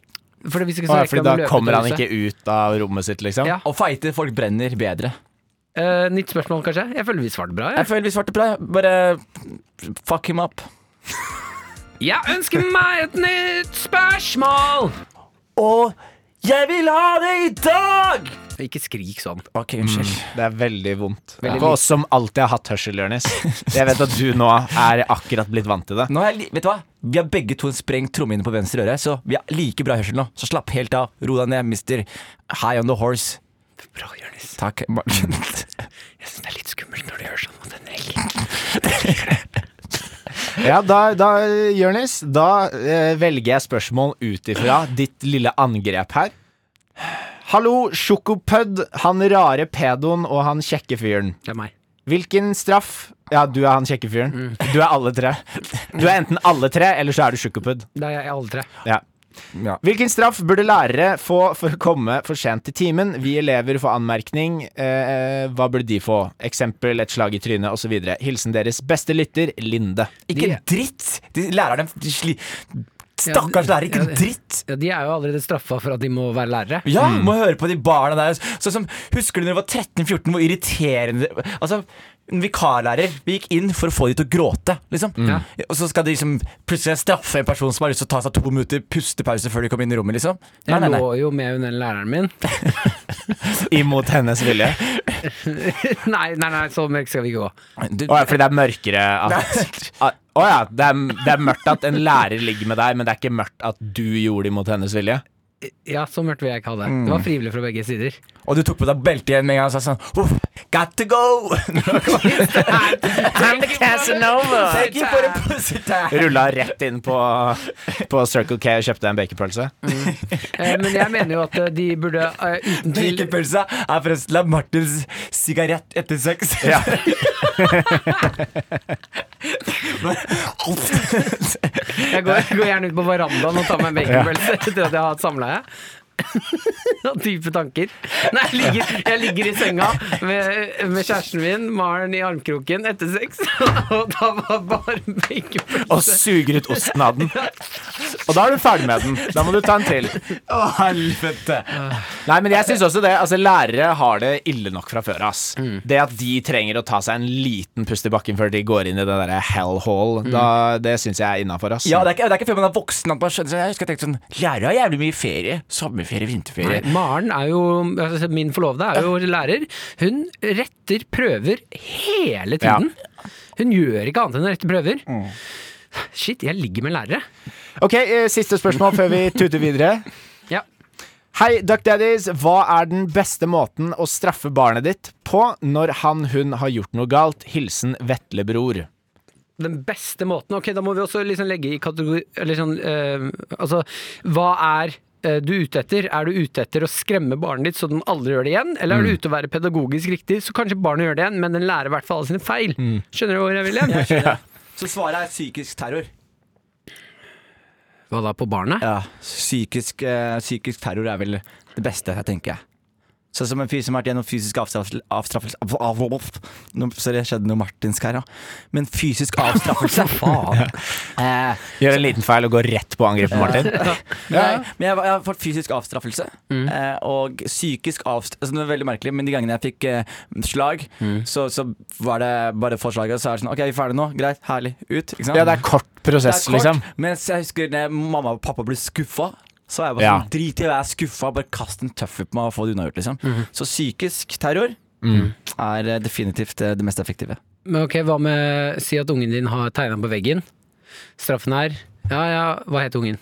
S2: Fordi, hvis ikke,
S3: Å,
S2: så
S3: ja,
S2: rekker han å
S3: fordi da
S2: løpe ut
S3: kommer
S2: av
S3: han
S2: huset.
S3: ikke ut av rommet sitt, liksom?
S2: Ja.
S4: Og feite folk brenner bedre.
S2: Eh, nytt spørsmål, kanskje? Jeg føler vi svarte bra. Ja.
S4: Jeg føler vi svarte bra. Bare fuck him up.
S2: Jeg ønsker meg et nytt spørsmål!
S4: Og jeg vil ha det i dag! Mm.
S2: Ikke skrik sånn.
S4: Ok, unnskyld.
S3: Det er veldig vondt.
S2: Veldig
S3: For oss som alltid har hatt hørsel, Jonis. Jeg vet at du nå er akkurat blitt vant til det.
S4: Nå er jeg, li- vet du hva? Vi har begge to en sprengt trommehinne på venstre øre, så vi har like bra hørsel nå. Så slapp helt av. Ro deg ned, mister High on the horse.
S2: Bra, Jonis.
S4: Takk, Martin.
S2: Jeg syns det er litt skummelt når du gjør sånn mot Henrik.
S3: Ja, da, da Jonis, da eh, velger jeg spørsmål ut ifra ditt lille angrep her. Hallo, sjokopødd, han rare pedoen og han kjekke fyren.
S2: Det er meg.
S3: Hvilken straff Ja, du er han kjekke fyren. Du er alle tre. Du er enten alle tre, eller så er du sjokopødd.
S2: Det er jeg i alle tre.
S3: Ja.
S4: Ja.
S3: Hvilken straff burde lærere få for å komme for sent til timen? Vi elever får anmerkning. Eh, hva burde de få? Eksempel et slag i trynet osv. Hilsen deres beste lytter, Linde.
S4: Ikke
S2: De-
S4: dritt! De lærerne de sli... Stakkars
S2: Ja,
S4: lærer, ikke
S2: ja,
S4: en dritt!
S2: Ja, de er jo allerede straffa for at de må være lærere.
S4: Ja, må høre på de barna der. Sånn som, husker du når du var 13-14, hvor irriterende det- Altså, en vikarlærer Vi gikk inn for å få de til å gråte, liksom.
S2: Mm.
S4: Og så skal de liksom plutselig straffe en person som har lyst til å ta seg to minutter pustepause før de kommer inn i rommet, liksom. Nei,
S2: Jeg
S4: nei, nei.
S2: lå jo med hun den læreren min.
S3: Imot hennes vilje.
S2: Nei, nei, nei, så mørkt skal vi ikke gå.
S4: Du,
S3: Å ja, fordi det er mørkere at at- Å ja, det er, det er mørkt at en lærer ligger med deg, men det er ikke mørkt at du gjorde det imot hennes vilje.
S2: Ja, så mørkt vil jeg ikke ha det. Det var frivillig fra begge sider.
S4: Og du tok på deg beltet igjen med en gang og sa sånn Uff, Got to go!
S2: I'm Casanova!
S4: Thank you for a pussy tap.
S3: Rulla rett inn på, på Circle K og kjøpte en bakerpølse.
S2: Men jeg mener jo at eh, de burde eh, uten tvil
S4: Drikkepølsa er forresten av Martins sigarett etter sex.
S3: Ja.
S2: Jeg går, går gjerne ut på verandaen og tar meg en baconpølse etter at jeg har hatt samleie. Og dype tanker. Nei, jeg ligger, jeg ligger i senga med, med kjæresten min, Maren, i armkroken etter sex, og da var bare baconpølse.
S3: Og suger ut osten av den. Og da er du ferdig med den. Da må du ta en til.
S4: Å, helvete.
S3: Nei, men jeg synes også det. Altså, lærere har det ille nok fra før. ass
S4: Mm.
S3: Det at de trenger å ta seg en liten pust i bakken før de går inn i det derre hell hall, da, det syns jeg er innafor.
S4: Mm. Ja, det er, ikke, det er ikke før man er voksen at man skjønner Jeg husker jeg tenkte sånn Lærere har jævlig mye ferie. Sommerferie, vinterferie.
S2: Maren er jo altså, Min forlovede er jo lærer. Hun retter prøver hele tiden. Hun gjør ikke annet enn å rette prøver. Shit, jeg ligger med lærere.
S3: Ok, eh, Siste spørsmål før vi tuter videre.
S2: Ja.
S3: Hei, Duck Daddies. Hva er den beste måten å straffe barnet ditt på når han/hun har gjort noe galt? Hilsen vetle bror.
S2: den beste måten Ok, da må vi også liksom legge i kategori eller sånn, eh, Altså, hva er eh, du ute etter? Er du ute etter å skremme barnet ditt så den aldri gjør det igjen? Eller er
S3: Mm.
S2: du ute å være pedagogisk riktig, så kanskje barnet gjør det igjen, men den lærer i hvert fall alle sine feil?
S3: Mm.
S2: Skjønner du hvor jeg vil hen?
S4: Så svaret er psykisk terror.
S2: Hva da, på barnet?
S4: Ja, psykisk, eh, psykisk terror er vel det beste, jeg tenker jeg. Sånn som en fyr som har vært gjennom fysisk avstraffelse avstraffelse- av, av, av, Nå, Sorry, det skjedde noe martinsk her, ja. Men fysisk avstraffelse eh,
S3: Gjør en liten feil og går rett på angrepet, Martin.
S4: Nei, men jeg, var- jeg har fått fysisk avstraffelse.
S3: Mm.
S4: Eh, og psykisk avstraffelse altså, Det er veldig merkelig, men de gangene jeg fikk eh, slag,
S3: Mm.
S4: så, så var det bare for slaget. Så er det sånn OK, vi er ferdige nå. Greit. Herlig. Ut. Ikke sant?
S3: Ja, det er kort
S4: Det er
S3: prosess,
S4: kort,
S3: liksom.
S4: Mens jeg husker når mamma og pappa ble skuffa. Så var jeg bare
S3: Ja.
S4: sånn, drit i å være skuffa, bare kast en tøffel på meg og få det unnagjort. Liksom.
S3: Mm-hmm.
S4: Så psykisk terror
S3: Mm.
S4: er eh, definitivt eh, det mest effektive.
S2: Men ok, hva med si at ungen din har tegna på veggen? Straffen er Ja ja, hva heter ungen?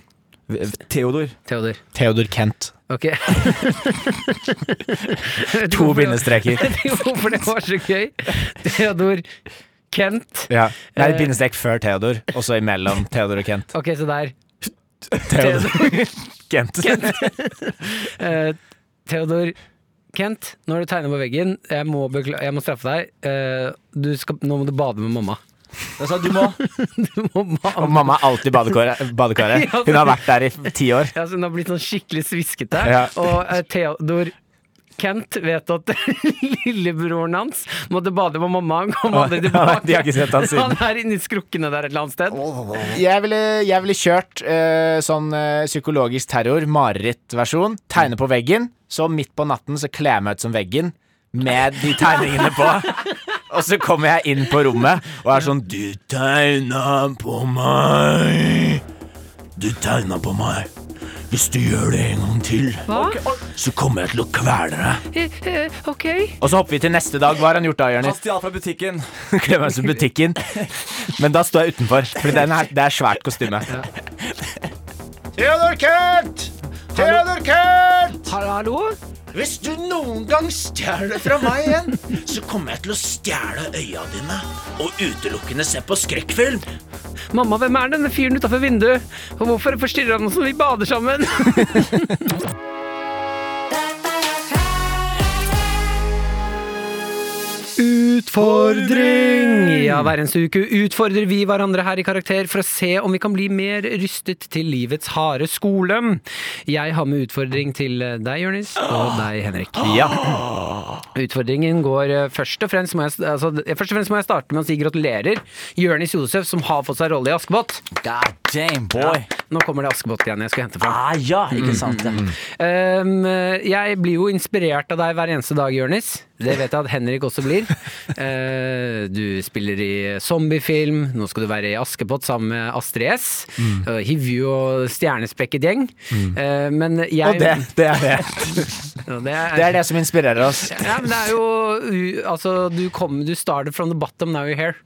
S4: V- v- Theodor.
S2: Theodor.
S3: Theodor Kent.
S2: Ok.
S3: To bindestreker.
S2: Hvorfor det var så gøy? Theodor Kent.
S3: Ja. Nei,
S2: Eh,
S3: bindestrek før Theodor, og så imellom Theodor og Kent.
S2: Ok, så der.
S3: Theodor Kent.
S2: Eh, Theodor Kent, når du tegner på veggen, jeg må, bekla jeg må straffe deg. Eh, du skal, nå må du bade med mamma.
S4: Altså, du må
S2: Du må bade.
S3: Og mamma er alltid i badekaret. badekaret. Hun har vært der i ti år.
S2: Ja, så hun har blitt sånn skikkelig sviskete.
S3: Ja.
S2: Og eh, Theodor Kent vet at lillebroren hans måtte bade med mamma. Han kom aldri
S3: Ja, nei,
S2: tilbake.
S3: de har ikke sett han siden.
S2: Han er inni skrukkene der et eller annet sted.
S3: Jeg ville, jeg ville kjørt eh, sånn eh, psykologisk terror, marerittversjon. Tegne på veggen, så midt på natten så kler jeg meg ut som veggen med de tegningene på. Og så kommer jeg inn på rommet og er sånn Du tegna på meg. Du tegna på meg. Hvis du gjør det en gang til,
S2: Hva?
S3: så kommer jeg til å kvele deg.
S2: Eh, eh, Ok.
S3: Og så hopper vi til neste dag. Hva har han gjort da, Jonis?
S4: Han stjal fra butikken.
S3: Kler meg ut som butikken. Men da står jeg utenfor, for den her, det er svært kostyme. Theodor Kent! Theodor Kent!
S2: Hallo, hallo?
S3: Hvis du noen gang stjeler fra meg igjen, så kommer jeg til å stjele øya dine og utelukkende se på skrekkfilm.
S2: Mamma, hvem er denne fyren utafor vinduet? Og hvorfor forstyrrer han oss når vi bader sammen? Utfordring! Ja, Hver eneste uke utfordrer vi hverandre her i Karakter for å se om vi kan bli mer rystet til livets harde skole. Jeg har med utfordring til deg, Jonis, og deg, Henrik.
S3: Ja.
S2: Utfordringen går eh, først og fremst må jeg, altså, eh, først og fremst må jeg starte med å si gratulerer. Jørnis Josef, som har fått seg rolle i Askepott.
S4: God damn, boy.
S2: Nå kommer det Askepott-greiene jeg skulle hente fram.
S4: Ah, ja, ikke sant? ja.
S3: Mm-hmm.
S2: Um, eh, jeg blir jo inspirert av deg hver eneste dag, Jørnis. Det vet jeg at Henrik også blir. Eh, du spiller i zombiefilm, nå skal du være i Askepott sammen med Astrid S. Mm. Hivju og stjernespekket gjeng. Eh, men jeg
S3: Og det, det er det.
S2: Ja, det er,
S3: Det er det som inspirerer oss.
S2: Ja, men det er jo u- Altså, du, kom, du started from the bottom, now you're here.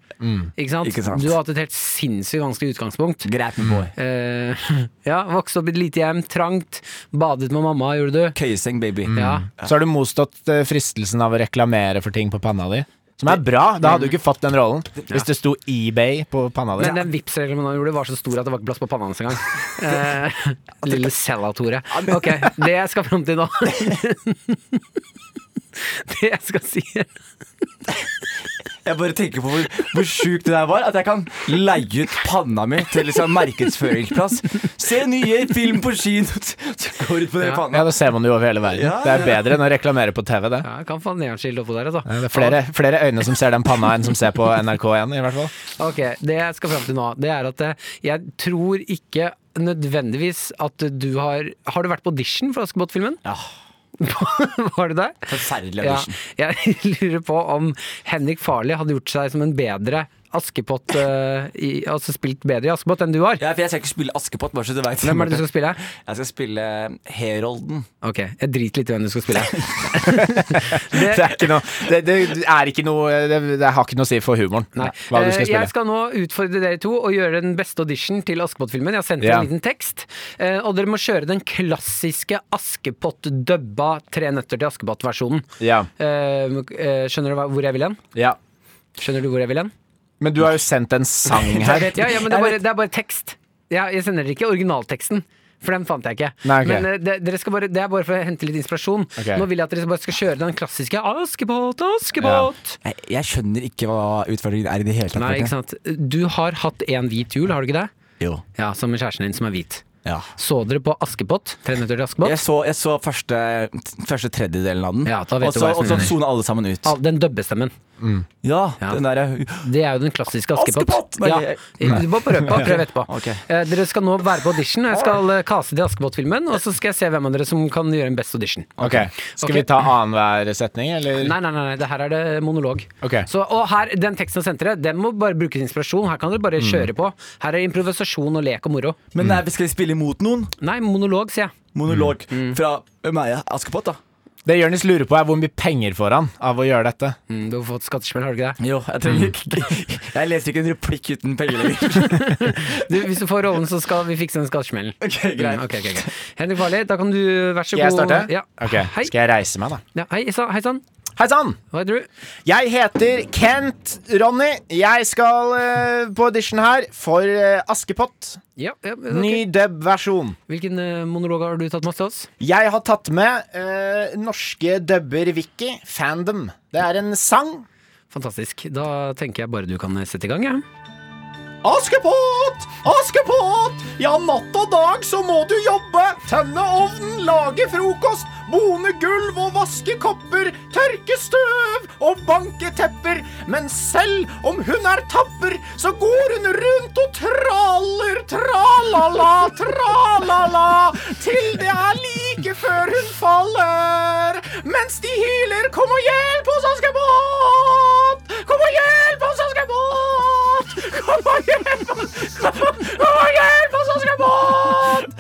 S2: Ikke, sant?
S4: Ikke sant.
S2: Du har hatt et helt sinnssykt vanskelig utgangspunkt.
S4: Greit med boy.
S2: Eh, ja, vokste opp i et lite hjem, trangt. Badet med mamma, gjorde du.
S4: Køyeseng, baby.
S2: Mm.
S3: Mm.
S2: Ja.
S3: Så har du motstått eh, fristelsen av å reklamere for ting på panna di. Som er bra. Da hadde du ikke fått den rollen hvis det sto eBay på panna di.
S2: Men den Vipps-reklamen han gjorde, var så stor at det var ikke plass på panna hans engang. Eh, lille Sella-Tore. Ok, det jeg skal fram til nå Det jeg skal si
S4: Jeg bare tenker på hvor, hvor sjukt det der var. At jeg kan leie ut panna mi til liksom markedsføringsplass. Se nye film på kino! Så går ut på den
S2: Ja.
S4: panna.
S3: Ja, da ser man det jo over hele verden.
S4: Ja,
S3: det er bedre enn å reklamere på TV, det.
S2: Ja, jeg kan få neonskilt oppå der, altså.
S3: Det er flere, flere øyne som ser den panna enn som ser på NRK1, i hvert fall.
S2: Ok, det jeg skal fram til nå, det er at eh, jeg tror ikke nødvendigvis at du har Har du vært på audition for Askepott-filmen?
S4: Ja,
S2: Var du der?
S4: Forferdelig
S2: Ja,
S4: audition.
S2: jeg lurer på om Henrik Farley hadde gjort seg som en bedre Askepott, eh, i- altså spilt bedre i Askepott enn du har.
S4: Ja. for jeg skal ikke spille Askepott, bare så du vet
S2: Hvem er det du skal spille?
S4: Jeg skal spille Herolden.
S2: Ok, jeg driter litt i hvem du skal spille.
S3: Det er ikke noe Det, det er ikke noe det, det har ikke noe å si for humoren
S2: Nei.
S3: hva du
S2: Eh,
S3: skal spille.
S2: Jeg skal nå utfordre dere to og gjøre den beste audition til Askepott-filmen. Jeg har sendt
S3: Ja.
S2: en liten tekst. eh, Og dere må kjøre den klassiske Askepott-dubba Tre nøtter til Askepott-versjonen.
S3: Ja,
S2: Eh, eh, skjønner du hva- hvor jeg vil hen?
S3: ja.
S2: Skjønner du hvor jeg vil hen?
S3: Men du har jo sendt en sang her.
S2: Ja, ja, men det er bare, det er bare tekst. Ja, jeg sender dere ikke originalteksten. For den fant jeg ikke.
S3: Nei, ok.
S2: Men eh, det, dere skal bare, det er bare for å hente litt inspirasjon.
S3: Ok.
S2: Nå vil jeg at dere bare skal kjøre den klassiske Askepott, Askepott.
S4: Jeg, jeg skjønner ikke hva utfordringen er i det hele tatt.
S2: Nei, ikke sant. Du har hatt en hvit jul, har du ikke det?
S4: Jo.
S2: Ja, sammen med kjæresten din som er hvit.
S4: Ja.
S2: Så dere på Askepott? Tre nøtter til Askepott?
S4: Jeg så, jeg så første, første tredjedelen av den,
S2: Ja, da vet
S4: og
S2: du
S4: så-
S2: hva jeg
S4: og så
S2: mener.
S4: sona alle sammen ut.
S2: Al- Den dubbestemmen.
S4: Ja,
S2: Ja.
S4: den derre
S2: Det er jo den klassiske Askepott.
S4: Askepott! Nei,
S2: Ja.
S4: jeg-
S2: Du må prøve på, prøv etterpå.
S4: Ok.
S2: Eh, Dere skal nå være på audition. og Jeg skal eh, caste til Askepott-filmen, og så skal jeg se hvem av dere som kan gjøre en best audition.
S3: Ok, Skal
S2: Ok.
S3: vi ta annenhver setning, eller?
S2: Nei, nei, nei, nei, det her er det monolog.
S3: Ok.
S2: Så, og her, den teksten jeg sendte dere, den må bare bruke til inspirasjon. Her kan dere
S3: Mm.
S2: bare kjøre på. Her er improvisasjon og lek og moro.
S4: Men nei, skal vi spille imot noen?
S2: Nei, monolog, sier jeg.
S4: Monolog
S2: Mm.
S4: fra meg, Askepott, da.
S3: Det Jonis lurer på, er hvor mye penger får han av å gjøre dette.
S2: Mm, du har fått skattesmell, har du ikke det?
S4: Jo, jeg trenger ikke Jeg leser ikke en replikk uten penger lenger.
S2: Du, hvis du får rollen, så skal vi fikse den skattesmellen.
S4: Ok,
S2: Mm, ok, ok, ok. Henrik Farley, da kan du være så
S3: Skal jeg
S2: god
S3: starte?
S2: Ja.
S3: Ok,
S2: Hei.
S3: Skal jeg reise meg, da?
S2: Ja, hei sa- hei sann.
S3: Hei sann!
S2: Hva heter du?
S3: Jeg heter Kent Ronny. Jeg skal eh, på audition her for eh, Askepott.
S2: Ja, ja, ok.
S3: Ny dub-versjon.
S2: Hvilken eh, monolog har du tatt med til oss?
S3: Jeg har tatt med eh, norske dubber-wiki, Fandom. Det er en sang.
S2: Fantastisk. Da tenker jeg bare du kan eh, sette i gang, jeg.
S3: Askepott! Askepott! Ja, natt og dag så må du jobbe. Tømme ovnen, lage frokost, bone gulv og vaske kopper, tørke støv og banke tepper. Men selv om hun er tapper, så går hun rundt og traller, tralala, tralala, til det er like før hun faller. Mens de hyler 'Kom og hjelp oss, Askepott'! Kom og hjelp oss, Askepott! Kom og hjelp oss! Kom og hjelp oss, Askepott!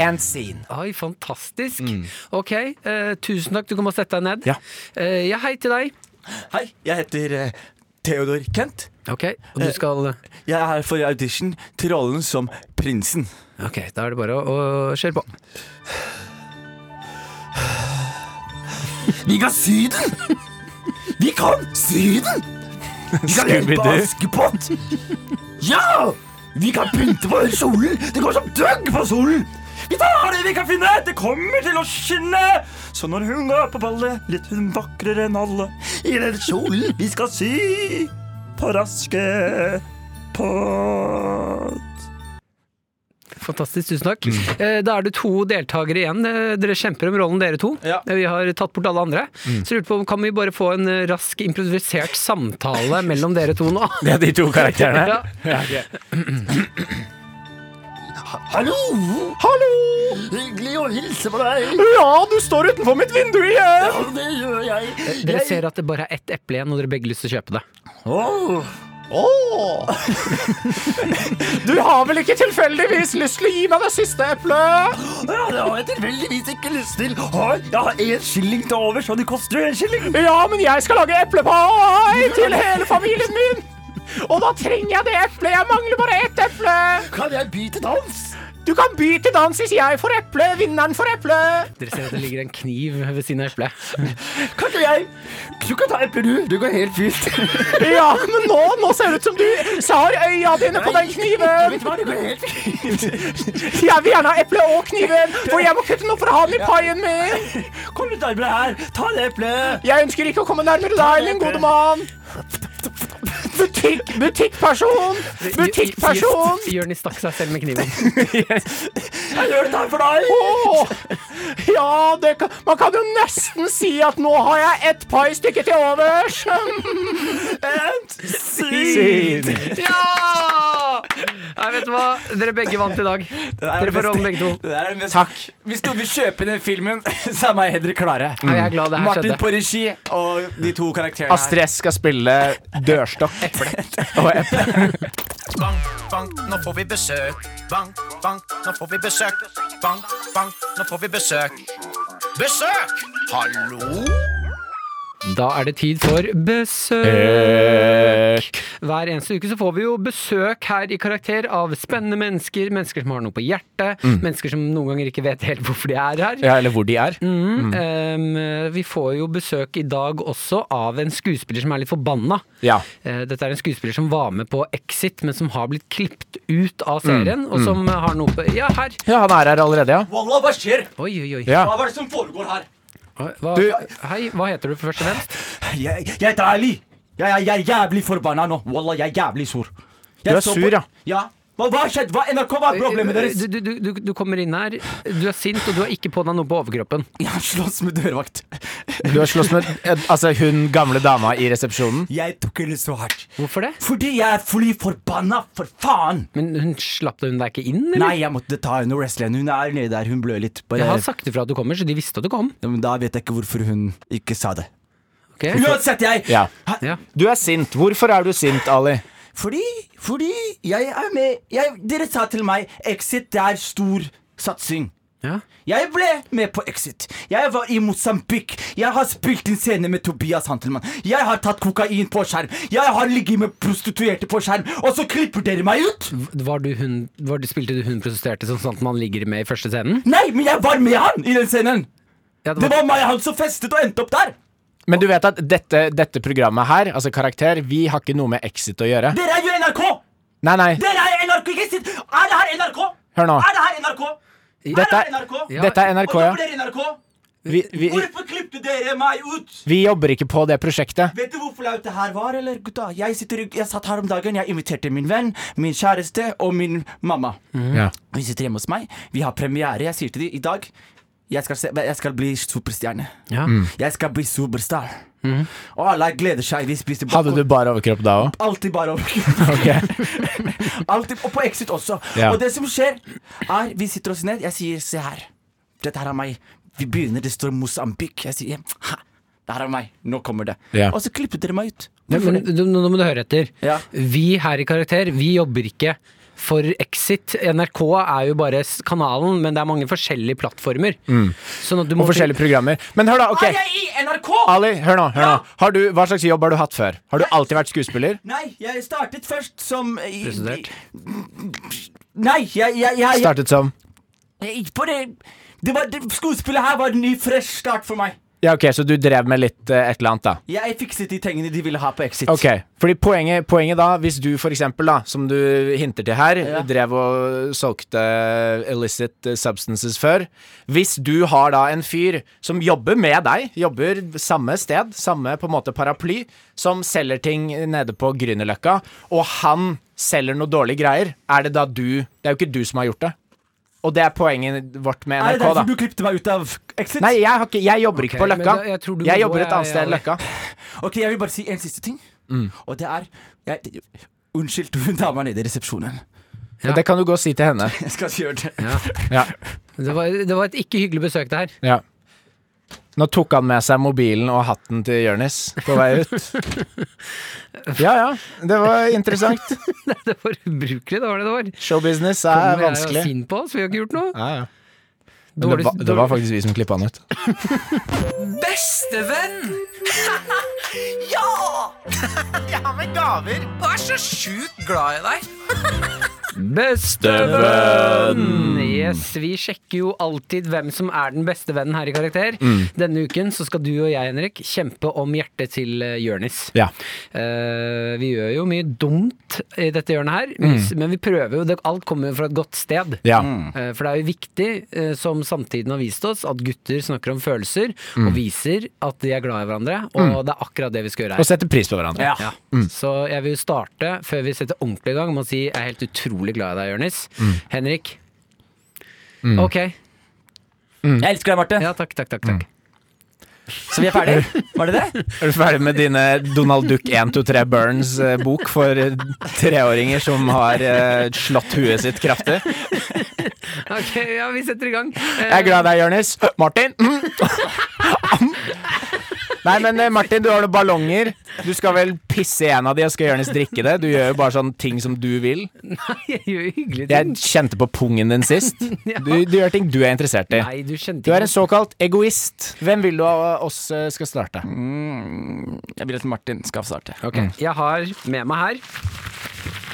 S3: En scene.
S2: Oi, fantastisk.
S3: Mm.
S2: Ok, eh, tusen takk. Du kan bare sette deg ned.
S4: Ja.
S2: Eh, ja, hei til deg.
S4: Hei, jeg heter eh, Theodor Kent.
S2: Ok, og
S4: Eh,
S2: du skal
S4: Jeg er her for audition til rollen som prinsen.
S2: Ok, da er det bare å, å kjøre på.
S4: Vi kan Syden! Vi kan Syden! Vi kan hjelpe Askepott! Ja! Vi kan pynte på solen! Det går som døgg på solen! Vi tar det vi kan finne! Det kommer til å skinne! Så når hun går på ballet, litt hun vakrere enn alle. I den kjolen vi skal sy på Raskepott.
S2: Fantastisk, tusen takk.
S4: Mm.
S2: Eh, Da er det to deltakere igjen. Eh, Dere kjemper om rollen, dere to.
S4: Ja. Mm.
S2: Eh, Vi har tatt bort alle andre. Så jeg lurte på om kan vi bare få en eh, rask improvisert samtale mellom dere to nå?
S3: Det er de to karakterene.
S2: Ja.
S4: Hallo!
S3: Hallo!
S4: Hyggelig å hilse på deg.
S3: Ja, du står utenfor mitt vindu igjen!
S4: Ja, det gjør jeg.
S2: Dere ser at det bare er ett eple igjen, og dere begge lyst til å kjøpe det.
S4: Åh.
S3: Åh. Du har vel ikke tilfeldigvis lyst til å gi meg det siste eplet?
S4: Ja, det har jeg tilfeldigvis ikke lyst til. Har- Jeg har én skilling til over, så det koster jo en skilling.
S3: Ja, men jeg skal lage eplepai til hele familien min. Og da trenger jeg det eplet. Jeg mangler bare ett eple.
S4: Kan jeg by til dans?
S3: Du kan by til dans hvis jeg får eple. Vinneren får eple.
S2: Dere ser at det ligger en kniv ved siden av eplet.
S4: Kan ikke jeg? Du kan ta eplet, du. Det går helt fint.
S3: Ja, men nå, nå ser det ut som du sar øya dine på den kniven.
S4: Vet du hva, det går helt fint.
S3: Jeg vil gjerne ha eple og kniven, for jeg må kutte noe for å ha den i paien min.
S4: Kom litt nærmere her. Ta det eplet.
S3: Jeg ønsker ikke å komme nærmere deg, min gode mann. Butikk, butikkperson, butikkperson.
S2: Jonis stakk seg selv med kniven.
S4: Jeg gjør dette her for deg.
S3: Åh, ja, det kan, man kan jo nesten si at nå har jeg ett pai stykke til overs.
S4: And syd.
S2: Ja! Nei, vet du hva? Dere begge vant i dag. Dere får rollen begge to.
S4: Det er det mest- Hvis du vil kjøpe den filmen, så er meg og Henrik klare.
S2: Nei, jeg er glad Mm, det her
S4: Martin
S2: skjedde.
S4: på regi og de to karakterene her.
S3: Astrid S skal spille dørstokk. Og eple.
S5: Bank, bank, nå får vi besøk. Bank, bank, nå får vi besøk. Bank, bank, nå får vi besøk. Besøk! Hallo?
S2: Da er det tid for besøk. Hver eneste uke så får vi jo besøk her i Karakter av spennende mennesker. Mennesker som har noe på hjertet. Mennesker som noen ganger ikke vet helt hvorfor de er her.
S3: Mm. Ja, eller hvor de er.
S2: Mm. Ehm, vi får jo besøk i dag også av en skuespiller som er litt forbanna.
S3: Ja.
S2: Eh, Dette er en skuespiller som var med på Exit, men som har blitt klippet ut
S3: Mm,
S2: av serien. Og som eh, har noe på Ja, her!
S3: Ja, han er her allerede, ja.
S4: Wallah, hva skjer?
S2: Oi, oi, oi.
S3: Ja.
S4: Hva er det som foregår her?
S2: Hva,
S3: Du-
S2: hei, hva heter du for først og fremst?
S4: Jeg, jeg heter Ali. Jeg, jeg, jeg er jævlig forbanna nå. Wallah, jeg er jævlig sur. Jeg
S3: Du er
S4: så
S3: sur, ja.
S4: Ja. Hva, hva skjedde? Hva, NRK, hva er problemet deres?
S2: Du, Eh, du, du- du, du kommer inn her, du er sint, og du har ikke på deg noe på overkroppen.
S4: Jeg slåss med dørvakt.
S3: Du har slåss med altså, hun gamle dama i resepsjonen.
S4: Jeg tok henne så hardt.
S2: Hvorfor det?
S4: Fordi jeg er fly forbanna, for faen!
S2: Men hun slapp hun deg ikke inn, eller?
S4: Nei, jeg måtte ta henne og wrestle henne. Hun er nede der, hun blør litt. Bare,
S2: Jeg har sagt ifra at du kommer, så de visste at du kom.
S4: Ja, men da vet jeg ikke hvorfor hun ikke sa det.
S2: Ok?
S4: Uansett, jeg
S3: Ja.
S4: Hæ?
S2: Ja.
S3: Du er sint. Hvorfor er du sint, Ali?
S4: Fordi, fordi jeg er med jeg, Dere sa til meg Exit, det er stor satsing.
S2: Ja.
S4: Jeg ble med på Exit. Jeg var i Mosambik. Jeg har spilt inn scene med Tobias Hantelmann. Jeg har tatt kokain på skjerm. Jeg har ligget med prostituerte på skjerm. Og så klipper dere meg ut!
S2: Var du hun, var du, spilte du hun prostituerte som sånn at man ligger med i første scenen?
S4: Nei, men jeg var med han i den scenen!
S2: Ja, det
S4: Det
S2: var,
S4: var meg og han som festet og endte opp der.
S3: Men du vet at dette, dette programmet her, altså Karakter, vi har ikke noe med Exit å gjøre.
S4: Dere er jo NRK!
S3: Nei, nei,
S4: Dere er NRK! Ikke sitt! Er det her NRK?
S3: hør nå.
S4: Er det her NRK?
S3: Dette,
S4: Er det NRK?
S2: Ja.
S3: dette er NRK,
S4: Og
S3: ja.
S4: jobber dere i NRK?
S3: Vi, vi,
S4: Hvorfor klippte dere meg ut?
S3: vi jobber ikke på det prosjektet.
S4: Vet du hvor flaut det her var, eller gutta? Jeg, sitter, i- jeg satt her om dagen, jeg inviterte min venn, min kjæreste og min mamma.
S3: Ja.
S4: Hun sitter hjemme hos meg, vi har premiere, jeg sier til dem i dag jeg skal, se, jeg skal bli superstjerne.
S2: Ja.
S4: Jeg skal bli superstar. Og alle gleder seg. De spiser
S3: Hadde Mhm. du
S4: popcorn.
S3: bare overkropp da òg?
S4: Alltid bare over.
S3: Ok.
S4: Alltid, og på Exit også.
S3: Ja.
S4: Og det som skjer, er vi sitter oss ned. Jeg sier 'se her'. Dette her er meg. Vi begynner, det står Mosambik. Jeg sier ha, 'det her er meg'. Nå kommer det.
S3: Ja.
S4: Og så klippet dere meg ut.
S2: Ja, men, du, nå må du høre etter.
S4: Ja.
S2: Vi her i Karakter, vi jobber ikke for Exit. NRK er jo bare s- kanalen, men det er mange forskjellige plattformer. Sånn at du må
S3: Og forskjellige programmer. Men hør, da.
S4: Er
S3: ok
S4: jeg i NRK?
S3: Ali, hør nå. hør nå
S4: Ja.
S3: har du, Hva slags jobb har du hatt før? Har du alltid vært skuespiller?
S4: Nei, jeg startet først som i-
S2: Prostituert.
S4: Nei, jeg, jeg, jeg, jeg,
S3: Startet som
S4: jeg på det, det, var, det Skuespillet her var en ny, fresh start for meg.
S3: Ja, ok, Så du drev med litt eh, et eller annet, da?
S4: Jeg fikset de tingene de ville ha på Exit.
S3: Ok, fordi poenget, poenget da, hvis du for eksempel da, som du hinter til her,
S4: Ja.
S3: drev og solgte illicit substances før, hvis du har da en fyr som jobber med deg, jobber samme sted, samme på en måte paraply, som selger ting nede på Grünerløkka, og han selger noe dårlige greier, er det da du, det er jo ikke du som har gjort det. Og det er poenget vårt med
S4: Er det
S3: NRK da.
S4: derfor du klippet meg ut av Exit?
S3: Nei, jeg, har ikke, jeg jobber ikke
S2: Ok,
S3: på
S2: men
S3: Løkka.
S2: da- jeg tror du
S3: Jeg,
S2: må gå,
S3: jobber et
S2: jeg-
S3: annet sted enn
S2: jeg-
S3: Løkka.
S4: Ok, jeg vil bare si en siste ting.
S3: Mm.
S4: Og det er jeg, Unnskyld hun dama nede i resepsjonen.
S2: Ja.
S3: Det kan du gå og si til henne.
S4: Jeg skal ikke gjøre det.
S3: Ja.
S2: Det var, det var et ikke hyggelig besøk det her.
S3: Ja. Nå tok han med seg mobilen og hatten til Jonis på vei ut. Ja ja, det var interessant.
S2: Det var ubrukelig, det var det det var.
S3: Showbusiness
S2: Kommer
S3: er
S2: jeg og
S3: vanskelig.
S2: Sint på oss, vi har ikke gjort noe.
S3: Ja, ja. Men
S2: Dårlig-
S3: det, var, det var faktisk vi som klippa han ut.
S6: Bestevenn!
S5: Jeg har med gaver.
S6: Og er så sjukt glad i deg!
S2: Bestevenn! Yes, vi sjekker jo alltid hvem som er den beste vennen her i Karakter.
S3: Mm.
S2: Denne uken så skal du og jeg, Henrik, kjempe om hjertet til eh, Jørnis.
S3: Ja.
S2: Eh, vi gjør jo mye dumt i dette hjørnet her, men- men vi prøver jo. det- Alt kommer jo fra et godt sted.
S3: Mm. ja.
S2: Eh, For det er jo viktig, eh, som samtiden har vist oss, at gutter snakker om følelser
S3: Mm.
S2: og viser at de er glad i hverandre. Og det er akkurat det vi skal gjøre
S3: Og Ah! Mm.
S2: her.
S3: sette pris på hverandre.
S4: Ja.
S2: Så jeg vil jo starte, før vi setter ordentlig i gang, med å si jeg er helt utrolig glad i deg, Jonis.
S3: Mm.
S2: Henrik. Ok.
S3: Mm.
S4: Jeg elsker deg, Marte.
S2: Ja, takk, takk, takk. takk.
S4: Så vi er ferdige. Var det det?
S3: Er du ferdig med dine Donald Duck 123 Burns-bok for eh, treåringer som har eh, slått huet sitt kraftig?
S2: Ok, ja, vi setter i gang.
S3: Jeg er glad i deg, Jonis. Martin! Nei, men eh, Martin, du har noen ballonger. Du skal vel pisse i en av de, og skal Jonis drikke det? Du gjør jo bare sånn ting som du vil.
S2: Nei, jeg gjør jo hyggelige
S3: Jeg
S2: ting.
S3: kjente på pungen din sist. Du, du gjør ting du er interessert i.
S2: Nei, du kjente
S3: Du er
S2: ikke
S3: en såkalt egoist. Hvem vil du av oss eh, skal starte?
S4: Jeg vil at Martin skal starte.
S2: Ok, Jeg har med meg her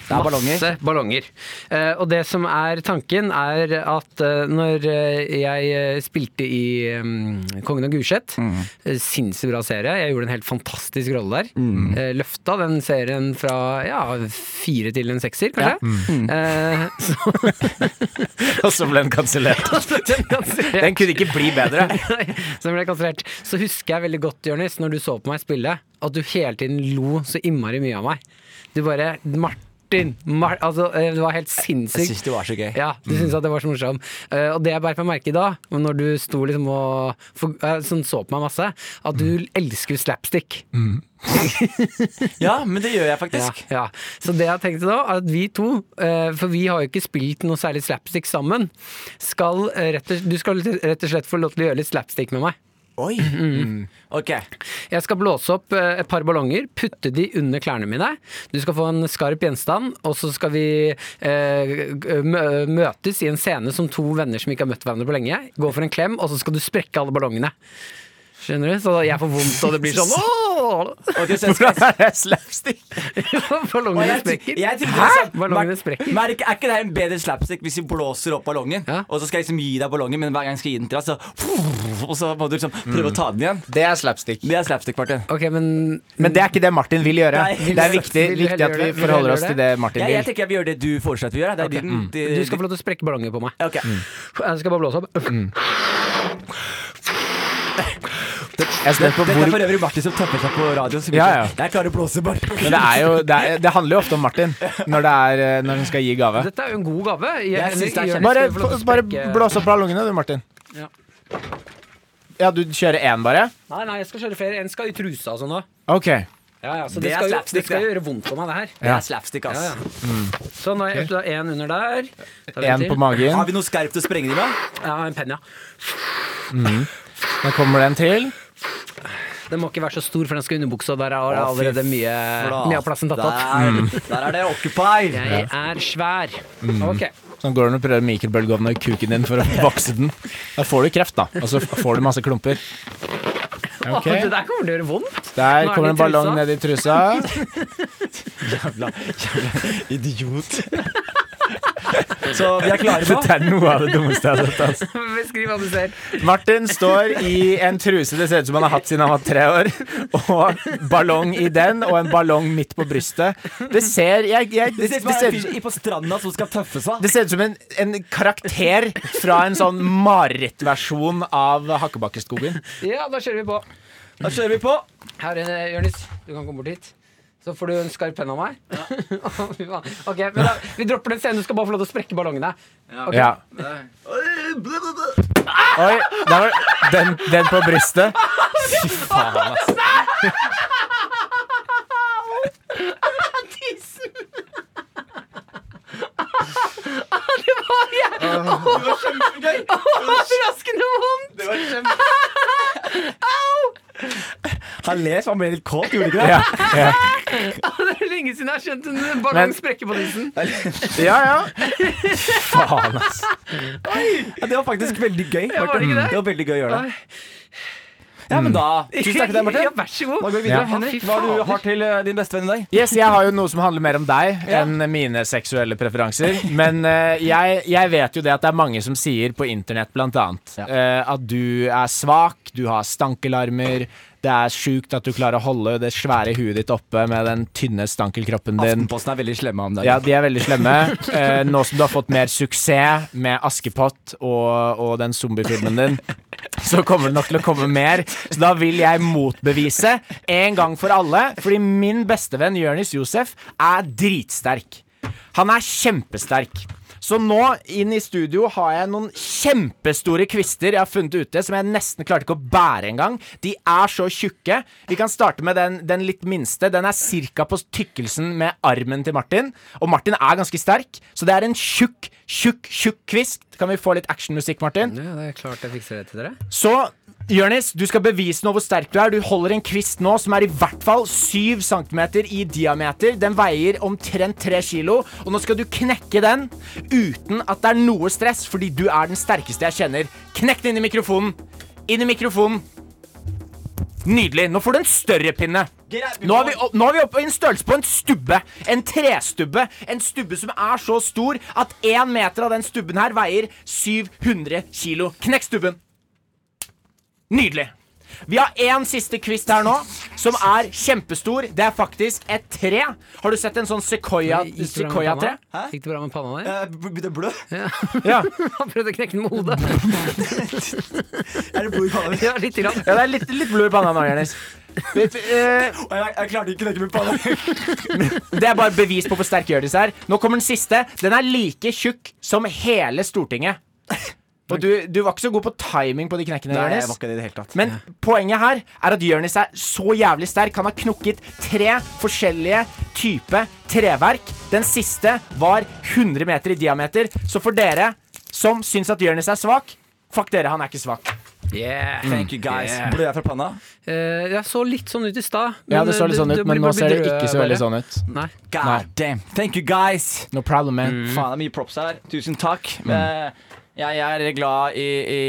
S4: Det er ballonger.
S2: Masse ballonger. Eh, og det som er tanken, er at eh, når eh, jeg eh, spilte i mm, Kongen av Gulset, eh, sinnssykt bra serie, jeg gjorde en helt fantastisk rolle der.
S4: Mm.
S2: Eh, løfta den serien fra ja, fire til en sekser, kanskje.
S4: Mm.
S2: Eh, så
S3: Og så ble den kansellert.
S2: så den kansellert.
S3: Den kunne ikke bli bedre.
S2: Så ble jeg kansellert. Så husker jeg veldig godt, Jonis, når du så på meg spille, at du hele tiden lo så innmari mye av meg. Du bare Martin! Mar altså, eh, det var helt
S4: Jeg
S2: sinnssykt.
S4: syns det var så gøy.
S2: Ja, du syntes at det var så morsom. Eh, og det jeg bare får merke i dag, og når du sto liksom og for, eh, sånn så på meg masse, at du elsker slapstick.
S4: Ja, men det gjør jeg
S2: Ja,
S4: faktisk.
S2: ja. Så det jeg tenkte da, er at vi to, eh, for vi har jo ikke spilt noe særlig slapstick sammen, skal eh, rett og, du skal rett og slett få lov til å gjøre litt slapstick med meg.
S4: Oi.
S3: Mm.
S4: Mm. Ok.
S2: Jeg skal blåse opp eh, et par ballonger, putte de under klærne mine. Du skal få en skarp gjenstand, og så skal vi eh, mø- møtes i en scene som to venner som ikke har møtt hverandre på lenge. Gå for en klem, og så skal du sprekke alle ballongene. Skjønner du? Så jeg får vondt, og det blir sånn Åh! Åh,
S4: Og de synes-
S3: Hvordan er det slapstick?
S4: Og
S2: Ballongene
S4: jeg-
S2: sprekker.
S4: jeg tenkte
S2: Hæ?
S4: liksom-
S2: Ballongene
S4: Mer-
S2: sprekker.
S4: Merk, er ikke det en bedre slapstick hvis vi blåser opp ballongen,
S2: Ja.
S4: og så skal jeg liksom gi deg ballongen, men hver gang jeg skal gi den til deg, så Og så må du liksom
S2: Mm.
S4: prøve å ta den igjen.
S3: Det er slapstick.
S4: Det er slapstick, Martin.
S2: Ok, men
S3: Men det er ikke det Martin vil gjøre.
S4: Nei.
S3: det er viktig,
S2: Vil du
S3: viktig
S2: heller
S3: at
S2: gjøre
S3: vi
S2: det? Vil du
S3: forholder oss
S2: heller
S3: til
S2: gjøre
S3: det Martin
S4: Jeg, jeg
S3: vil.
S4: tenker jeg vil gjøre det du foreslår at vi gjør. Det er din, det-
S2: du skal Mm. få lov til å sprekke ballonger på meg.
S4: Ok.
S2: Jeg skal bare blåse opp.
S4: Mm.
S3: Jeg er spent på
S4: Dette er for
S3: hvor
S4: øvrig Martin som tapper seg på radio. Så mye.
S3: Ja, ja.
S4: Jeg klarer å blåse
S3: men
S4: bare.
S3: det, er jo, det, er, det handler jo ofte om Martin når, det er, eh, når hun skal gi gave.
S2: Dette er jo en god gave.
S4: Jeg synes det er
S2: Jørgen,
S3: Bare,
S2: skal vi få lov til å
S3: bare
S2: sprekke-
S3: blås opp ballongene, du, Martin.
S2: Ja.
S3: Ja, du kjører én bare?
S2: Nei, nei, jeg skal kjøre flere. En skal i trusa og sånn da.
S3: Ok.
S2: Ja, ja, så
S4: Det
S2: det,
S4: er
S2: skal jo,
S4: slapstick,
S2: det skal
S4: det.
S2: gjøre vondt på meg, det her.
S4: Det er slapstick, ass.
S2: Ja, ja. Så nå har jeg da én under der. Da vet
S3: Én
S2: vi.
S3: på
S4: Har
S3: magen.
S4: vi noe skarpt å sprenge det med?
S2: Jeg har en penn, ja.
S3: Nå kommer det en til.
S2: Den må ikke være så stor, for den skal i underbuksa. Der er det allerede mye, mye av plassen tatt opp. Mm.
S4: Der, der er det Occupy.
S2: Jeg er svær. Ok.
S3: Sånn går det når du prøver mikrobølgeovnen i kuken din for å vokse den. Da får du kreft, da. Og så får du masse klumper.
S2: Å,
S3: Ok.
S2: det der kommer til å gjøre vondt.
S3: Der
S2: Nå er
S3: kommer
S2: det
S3: en ballong
S2: trusa.
S3: ned i trusa.
S4: Idiot. Så vi er klare nå.
S3: Dette er noe av det dummeste jeg har sett. Altså.
S2: Beskriv hva du ser.
S3: Martin står i en truse det ser ut som han har hatt siden han var tre år, og ballong i den, og en ballong midt på brystet. Det ser jeg, jeg,
S4: Det
S3: det,
S4: ser ut som det er
S3: ser,
S4: en fyr på stranda som skal tøffe seg.
S3: det ser ut som en, en karakter fra en sånn marerittversjon av Hakkebakkeskogen.
S2: Ja, da kjører vi på.
S4: Da kjører vi på.
S2: Her, eh, Jørnis, du kan komme bort hit. Så får du en skarp penn av meg. Fy faen. ok, men da, Vi dropper den scenen, du skal bare få lov til å sprekke ballongene. Ok.
S3: Ja. Oi, der var den, den på brystet. Fy faen, altså.
S4: Han ler som han ble litt kåt, gjorde ikke
S3: Ja, ja.
S2: Det er lenge siden jeg har skjønt en ballong sprekke på nissen.
S3: ja, ja. Faen, ass.
S4: Ja, det var faktisk veldig gøy.
S2: var det
S4: Martin.
S2: ikke det?
S4: var veldig gøy å gjøre det. Ja, men da Tusen takk til deg,
S2: Ja,
S4: Martin.
S2: vær så
S4: Da
S2: god.
S4: går vi videre.
S3: Ja.
S4: Henrik, hva du har du til eh, din beste venn i dag?
S3: Yes, Jeg har jo noe som handler mer om deg enn mine seksuelle preferanser. Men eh, jeg, jeg vet jo det at det er mange som sier på internett blant annet eh, at du er svak, du har stankelarmer, det er sjukt at du klarer å holde det svære huet ditt oppe med den tynne stankelkroppen din.
S4: Aftenposten er veldig slemme om
S3: Ja,
S4: dagen.
S3: de er veldig slemme. Eh, nå som du har fått mer suksess med Askepott og, og den zombiefilmen din, så kommer det nok til å komme mer. Så da vil jeg motbevise en gang for alle, fordi min bestevenn Jonis Josef er dritsterk. Han er kjempesterk. Så nå inn i studio har jeg noen kjempestore kvister jeg har funnet ute, som jeg nesten klarte ikke å bære engang. De er så tjukke. Vi kan starte med den, den litt minste. Den er ca. på tykkelsen med armen til Martin. Og Martin er ganske sterk, så det er en tjukk, tjukk, tjukk kvist. Kan vi få litt actionmusikk, Martin?
S2: Ja, det er klart jeg fikser det til dere.
S3: Så Jørnis, du skal bevise nå hvor sterk du er. Du holder en kvist nå som er i hvert fall 7 cm i diameter. Den veier omtrent 3 kilo. Og nå skal du knekke den uten at det er noe stress, fordi du er den sterkeste jeg kjenner. Knekk den inn i mikrofonen. Inn i mikrofonen. Nydelig. Nå får du en større pinne.
S4: Greit, vi
S3: Nå
S4: må-
S3: er, vi opp, nå er vi oppe i en størrelse på en stubbe. En trestubbe. En stubbe som er så stor at én meter av den stubben her veier 700 kilo. Knekk stubben. Nydelig. Vi har én siste kvist her nå, som er kjempestor. Det er faktisk et tre. Har du sett en sånn sequoia- sequoia-tre?
S2: Gikk det bra med panna di?
S4: Eh, Begynte å blø?
S3: Ja.
S2: Han prøvde å knekke den med hodet.
S4: Er det blod i panna mi?
S2: Ja, litt grann.
S3: ja, det er litt, litt blod i panna nå, Jonis. Vet du, eh,
S4: Å, Jeg, jeg klarte ikke å knekke med panna mi.
S3: Det er bare bevis på hvor sterk Jonis er. Nå kommer den siste. Den er like tjukk som hele Stortinget. Og du, du var ikke så god på timing på de knekkene,
S4: Nei, jeg
S3: Jonis.
S4: var ikke det i det hele tatt.
S3: Men poenget her er at Jonis er så jævlig sterk. Han har knukket tre forskjellige type treverk. Den siste var 100 meter i diameter. Så for dere som syns at Jonis er svak Fuck dere, han er ikke svak.
S2: Yeah.
S4: Mm. Thank you, guys. Blø jeg fra panna?
S2: Eh, jeg så litt sånn ut i stad.
S3: Ja, det så litt sånn ut, men nå ser det ikke så veldig sånn ut.
S2: Nei.
S4: God damn. Thank you, guys.
S3: No problem, man.
S4: Mm.
S2: Mm.
S4: Faen, det er mye props her. Tusen takk. Eh, Ja, jeg er glad i, i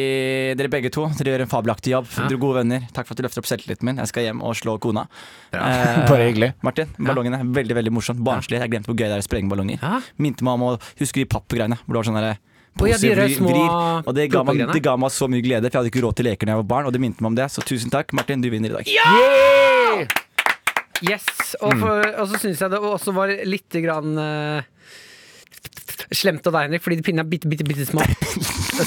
S4: dere begge to. Dere gjør en fabelaktig jobb. Dere er gode venner. Takk for at du løfter opp selvtilliten min. Jeg skal hjem og slå kona. Eh,
S3: Bare hyggelig.
S4: Martin, ballongene. Veldig veldig morsomt. Barnslig. Jeg glemte hvor gøy det er å sprenge ballonger.
S2: Ja.
S4: Minte meg om å huske de pappgreiene. Hvor det var sånn derre
S2: Å, ja, de
S4: poser,
S2: der
S4: vri-
S2: små
S4: vrir. Og det ga, meg,
S2: ploppegreiene.
S4: det ga meg så mye glede, for jeg hadde ikke råd til leker da jeg var barn. Og det minte meg om det, så tusen takk, Martin. Du vinner i dag.
S2: Yes, og,
S3: Mm.
S2: for, og så syns jeg det også var litt grann eh, slemt av deg, Henrik, fordi de pinnene er bitte, bitte, bitte små.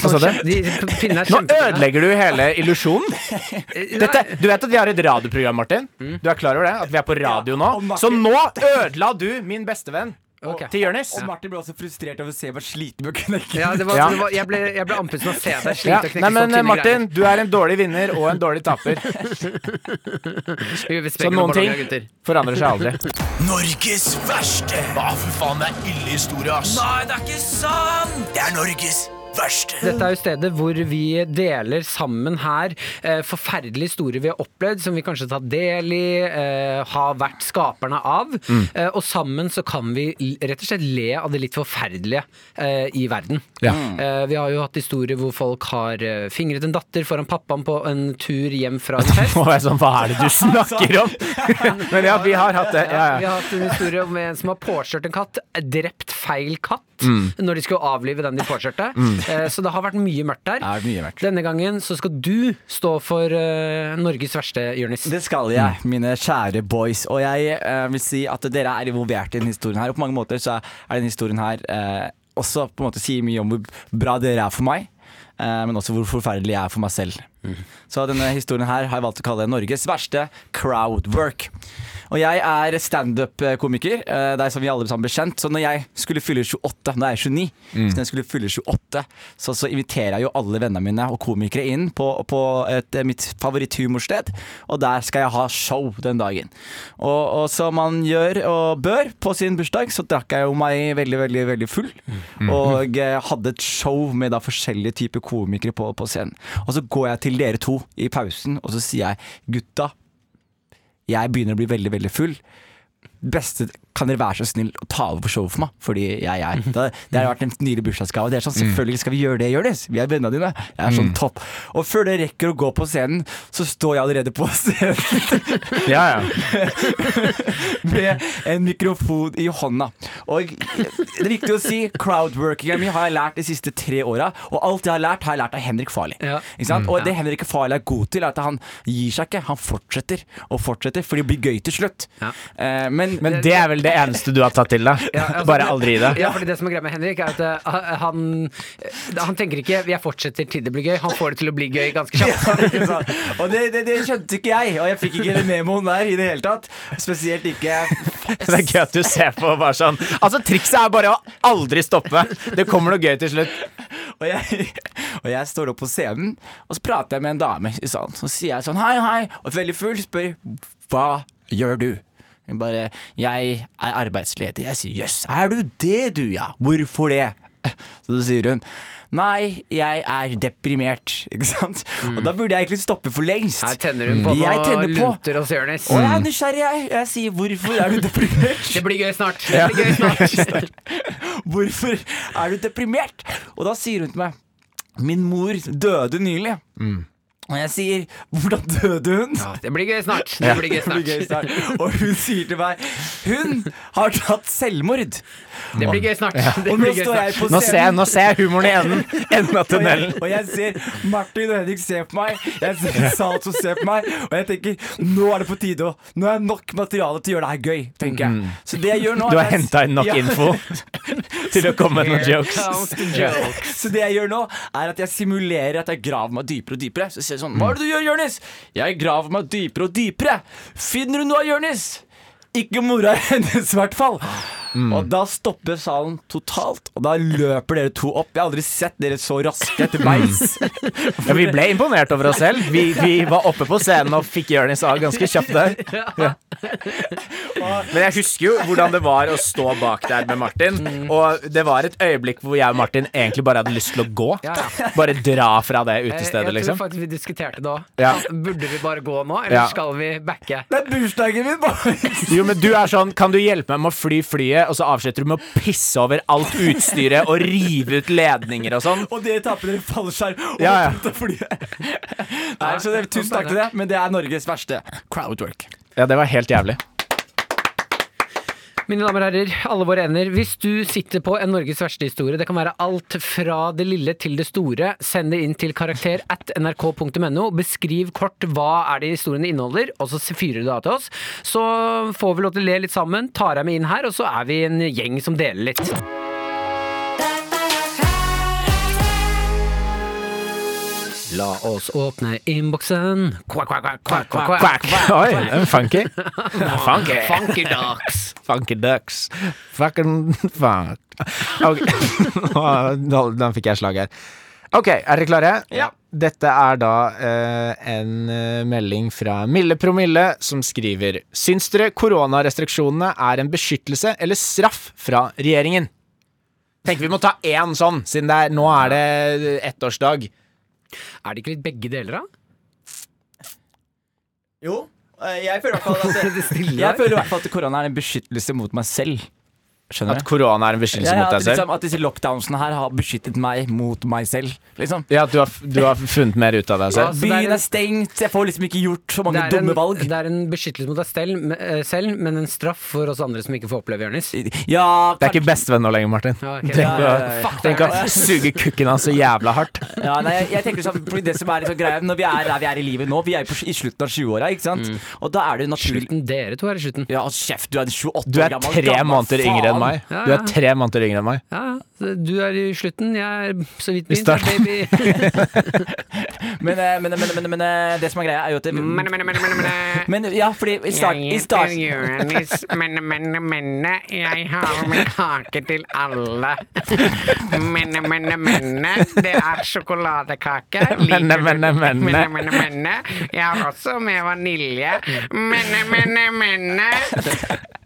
S2: sånn
S3: sa du?
S2: De pinnene er
S3: Nå
S2: kjempepinne.
S3: ødelegger du hele illusjonen. Dette, du vet at vi har et radioprogram, Martin? Du er klar over det? At vi er på radio nå?
S4: og Martin-
S3: Så nå ødela du min bestevenn
S2: Ok.
S3: til Jonis.
S4: Og Martin ble også frustrert over å se meg sliten med å knekke.
S2: Ja, det var,
S3: Ja.
S2: Det var, jeg ble, jeg ble andpusten av å se deg slite
S3: Ja.
S2: og knekke sånn
S3: Nei, men
S2: så tynne
S3: Martin, du er en dårlig vinner og en dårlig taper.
S2: greier.
S3: Så noen ting forandrer seg aldri.
S5: Norges verste. Hva, for faen, det er ille historie, ass.
S6: Nei, det er ikke sant!
S5: Det er Norges verste.
S2: Dette er jo stedet hvor vi deler sammen her eh, forferdelige historier vi har opplevd, som vi kanskje tar del i, eh, har vært skaperne av. Eh, og sammen så kan vi l- rett og slett le av det litt forferdelige eh, i verden.
S3: Ja.
S2: Eh, vi har jo hatt historier hvor folk har eh, fingret en datter foran pappaen på en tur hjem fra en fest.
S3: Må være sånn, Hva er det du
S2: altså.
S3: snakker om? Men ja, vi har hatt det. Ja,
S2: Vi
S3: ja.
S2: har hatt en historie om en som har påkjørt en katt, drept feil katt,
S4: Mm.
S2: når de skulle avlive den de påkjørte. Eh, Så det har vært mye mørkt der.
S4: Det er mye mørkt.
S2: Denne gangen så skal du stå for eh, Norges verste, Jonis.
S4: Det skal jeg, mine kjære boys. Og jeg eh, vil si at dere er involvert i denne historien her. Og på mange måter så er denne historien her eh, også på en måte sier mye om hvor bra dere er for meg. eh, men også hvor forferdelig jeg er for meg selv. Så denne historien her har jeg valgt å kalle Norges verste crowdwork. Og jeg er standup-komiker, eh, det er som vi alle sammen ble kjent. Så når jeg skulle fylle 28, nå er jeg 29, så når jeg skulle fylle 28, så, så inviterer jeg jo alle vennene mine og komikere inn på, på et, eh, mitt favoritthumorsted, og der skal jeg ha show den dagen. Og, og som man gjør og bør på sin bursdag, så drakk jeg jo meg veldig, veldig, veldig full. Og eh, hadde et show med da forskjellige typer komikere på, på scenen. Og så går jeg til dere to i pausen, og så sier jeg gutta, jeg begynner å bli veldig, veldig full. Beste, kan dere være så snill å ta over showet for meg? Fordi jeg er Det, det har vært en nydelig bursdagsgave. Det er sånn,
S3: Mm.
S4: Selvfølgelig skal vi gjøre det, Jonis. Vi er vennene dine. Jeg er sånn topp. Og før dere rekker å gå på scenen, så står jeg allerede på scenen
S3: ja, ja.
S4: med en mikrofon i hånda. Og det er viktig å si crowdworkinga mi har jeg lært de siste tre åra. Og alt jeg har lært, har jeg lært av Henrik Farley.
S2: Ja.
S4: Ikke sant?
S3: Mm,
S4: Og det Henrik Farley er god til, er at han gir seg ikke. Han fortsetter og fortsetter, for det blir gøy til slutt.
S2: Ja.
S4: Eh, men,
S3: Men det er vel det eneste du har tatt til deg?
S2: altså,
S3: Bare aldri gi deg?
S2: Ja, fordi det som er greia med Henrik, er at eh, han, eh, han tenker ikke 'jeg fortsetter til det blir gøy', han får det til å bli gøy ganske kjapt.
S4: Ikke sant? og det, det, det skjønte ikke jeg, og jeg fikk ikke den memoen der i det hele tatt. Spesielt ikke
S3: Det er gøy at du ser på og bare sånn Altså, trikset er bare å aldri stoppe. Det kommer noe gøy til slutt.
S4: Og jeg, og jeg står opp på scenen, og så prater jeg med en dame i salen. Så sier jeg sånn hei, hei, og veldig full spør hva gjør du? Hun bare jeg er arbeidsledig. Jeg sier jøss, er du det du, ja? Hvorfor det? Så sier hun nei, jeg er deprimert, ikke sant? Og da burde jeg egentlig stoppe for lengst.
S2: Mm. Her tenner hun på
S4: Jeg
S2: og
S4: tenner på.
S2: lunter oss, Jonis.
S4: Og
S3: Mm.
S4: jeg er nysgjerrig, jeg. Jeg sier 'hvorfor er du deprimert'?
S2: Det blir gøy snart. Det blir gøy snart.
S4: Hvorfor er du deprimert? Og da sier hun til meg Min mor døde nylig
S3: Mm.
S4: Og jeg sier Hvordan døde hun?
S2: Det blir gøy snart. Det blir gøy
S4: Det blir
S2: snart.
S4: gøy snart. Og hun sier til meg Hun har tatt selvmord
S2: Det blir gøy snart. Det
S4: Og nå
S2: blir gøy
S4: står jeg
S2: snart.
S4: på
S3: Nå ser jeg,
S4: scenen
S3: nå ser jeg humoren i enden, enden av
S4: og jeg,
S3: tunnelen.
S4: og jeg ser Martin og Henrik ser på meg Jeg ser Salto ser på meg Og jeg tenker, nå er det på tide å- Nå er det nok materiale til å gjøre det her gøy Tenker jeg Så det jeg gjør nå
S3: Mm. Du har
S4: er-
S3: henta inn nok
S4: Ja.
S3: info til å komme med noen jokes.
S2: Comes the joke.
S4: Så det jeg gjør nå, er at jeg simulerer at jeg graver meg dypere og dypere. Så sier jeg sånn Hva er det du gjør, Jonis? Jeg graver meg dypere og dypere. Finner du noe, Jonis? Ikke mora hennes, i hvert fall.
S3: Mm.
S4: Og da stopper salen totalt, og da løper dere to opp. Jeg har aldri sett dere så raske etter beis.
S3: Mm. Ja, vi ble imponert over oss selv. Vi, vi var oppe på scenen og fikk Jonis av ganske kjapt der. Ja. Men jeg husker jo hvordan det var å stå bak der med Martin. Og det var et øyeblikk hvor jeg og Martin egentlig bare hadde lyst til å gå.
S2: Ja, ja.
S3: Bare dra fra det
S2: Jeg,
S3: utestedet,
S2: jeg tror
S3: liksom.
S2: faktisk vi diskuterte det òg.
S3: Ja.
S2: Burde vi bare gå nå, eller
S3: Ja.
S2: skal vi backe?
S4: Det er bursdagen min, boys!
S3: Jo, men du er sånn Kan du hjelpe meg med å fly flyet? utstyret, og så avslutter du med å pisse over alt utstyret og rive ut ledninger og sånn.
S4: Og dere taper dere fallskjerm. og
S3: Ja, ja.
S4: dette fordi- Nei, så det, Tusen takk til det, men det er Norges verste crowdwork.
S3: Ja, det var helt jævlig.
S2: Mine damer og herrer, alle våre ender. Hvis du sitter på en Norges verste historie, det kan være alt fra det lille til det store, send det inn til karakter at nrk.no. Beskriv kort hva er det historiene inneholder, og så fyrer du det av til oss. Så får vi lov til å le litt sammen, tar jeg med inn her, og så er vi en gjeng som deler litt. La oss åpne innboksen. Kvakk, kvakk, kvakk, kvakk, kvakk.
S3: Quack. Oi, den er funky. funky.
S2: Funky ducks.
S3: Funky ducks. Fucking fuck. Ok. Nå- nå- Den fikk jeg slag her. Ok, er dere klare? Ja. Dette er da eh, en eh, melding fra Mille Promille som skriver Syns dere koronarestriksjonene er en beskyttelse eller straff fra regjeringen? Tenker vi må ta én sånn, siden det er, nå er det ettårsdag.
S2: Er det ikke litt begge deler, da?
S4: Jo, eh, jeg føler i hvert fall at
S2: Det stille
S4: Jeg
S2: der.
S4: føler i hvert fall at korona er en beskyttelse mot meg selv. Skjønner
S3: At korona er en beskyttelse
S4: Ja, ja, at,
S3: mot deg selv?
S4: liksom, at disse lockdownsene her har beskyttet meg mot meg selv. Liksom.
S3: Ja, at du har, f- du har funnet mer ut av
S2: Ja,
S3: deg selv?
S2: så det er
S4: Byen
S2: en-
S4: er stengt, jeg får liksom ikke gjort så mange
S2: Det er
S4: dumme
S2: en-
S4: valg.
S2: Det er en beskyttelse mot deg selv, men- eh, selv, men en straff for oss andre som ikke får oppleve Jonis.
S4: Ja,
S3: Det er ikke bestevenn nå lenger, Martin.
S2: Ja, ok.
S3: Tenk,
S4: Ja,
S3: å,
S4: ja, ja.
S3: tenk å suge kukken hans så jævla hardt.
S4: Ja, nei, jeg, jeg tenker sånn, fordi det som er liksom greia Når vi er der vi er i livet nå Vi er på, i slutten av 20-åra, ikke sant? Og da er det naturlig
S2: Slutten, dere to er i slutten.
S4: Ja, altså, kjeft, du er 28 år gammel
S3: Du er tre
S4: gammel
S3: måneder
S4: faen.
S3: yngre enn meg.
S2: Ja,
S3: Du
S2: ja.
S3: er tre måneder yngre enn meg.
S2: Ja, ja. du er i slutten, jeg er så vidt begynt,
S3: starten.
S2: baby.
S4: men, eh, men, men, men, men eh, det som er greia er jo at det, Men ja, fordi i starten
S7: Jeg
S4: i
S7: heter
S4: starten-
S7: Jonis, men, men, men jeg har med kake til alle. Men, men, men det er sjokoladekake. Liker
S3: Men,
S7: du
S3: men,
S7: det?
S3: men.
S7: men, men, men. Jeg har også med vanilje. Men, men, men.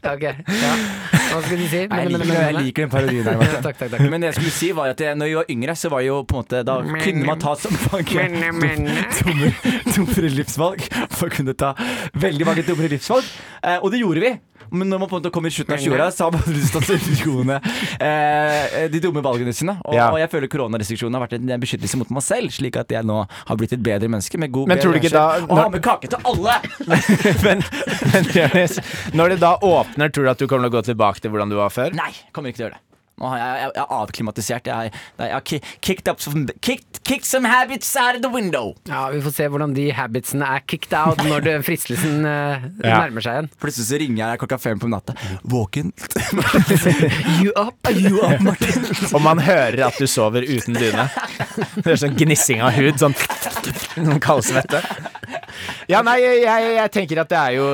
S2: Ok, ja. Hva skulle du si?
S4: Nei, jeg
S2: Men- men-
S4: liker, jeg
S2: men- men-
S4: liker den parodien her.
S2: Ja,
S4: Martin.
S2: takk, takk, takk.
S4: Men det jeg skulle si var at jeg, når jeg var yngre, så var jeg jo på en måte Da
S7: Men-
S4: kunne man ta som mange
S7: Men, men.
S4: dumme, dummere livsvalg. For å kunne ta veldig mange dummere livsvalg. Eh, og det gjorde vi. Men når man på en måte kom i slutten av 20-åra, så har man lyst til å se de gode, eh, de dumme valgene sine. Og,
S3: Ja.
S4: og jeg føler koronarestriksjonene har vært en en beskyttelse mot meg selv, slik at jeg nå har blitt et bedre menneske med god
S3: Men tror du ikke da-
S4: Å ha med kake til alle!
S3: Men, men Jonis, når det da åpner, tror du at du kommer til å gå tilbake til hvordan du var før?
S4: Nei, kommer ikke til å gjøre det. Nå har jeg, jeg, jeg er avklimatisert. Jeg, jeg, jeg har ki- kicked, up some, kicked, kicked some habits out of the window.
S2: Ja, vi får se hvordan de habitsene er kicked out når det, fristelsen eh,
S3: Ja.
S2: nærmer seg igjen.
S4: Plutselig så ringer jeg deg klokka fem på natta. Våken?
S2: You up?
S4: You up, Martin?
S3: Og man hører at du sover uten dyne. Det er sånn gnissing av hud, sånn noen kaldsvette. Ja, nei, jeg, jeg tenker at det er, jo,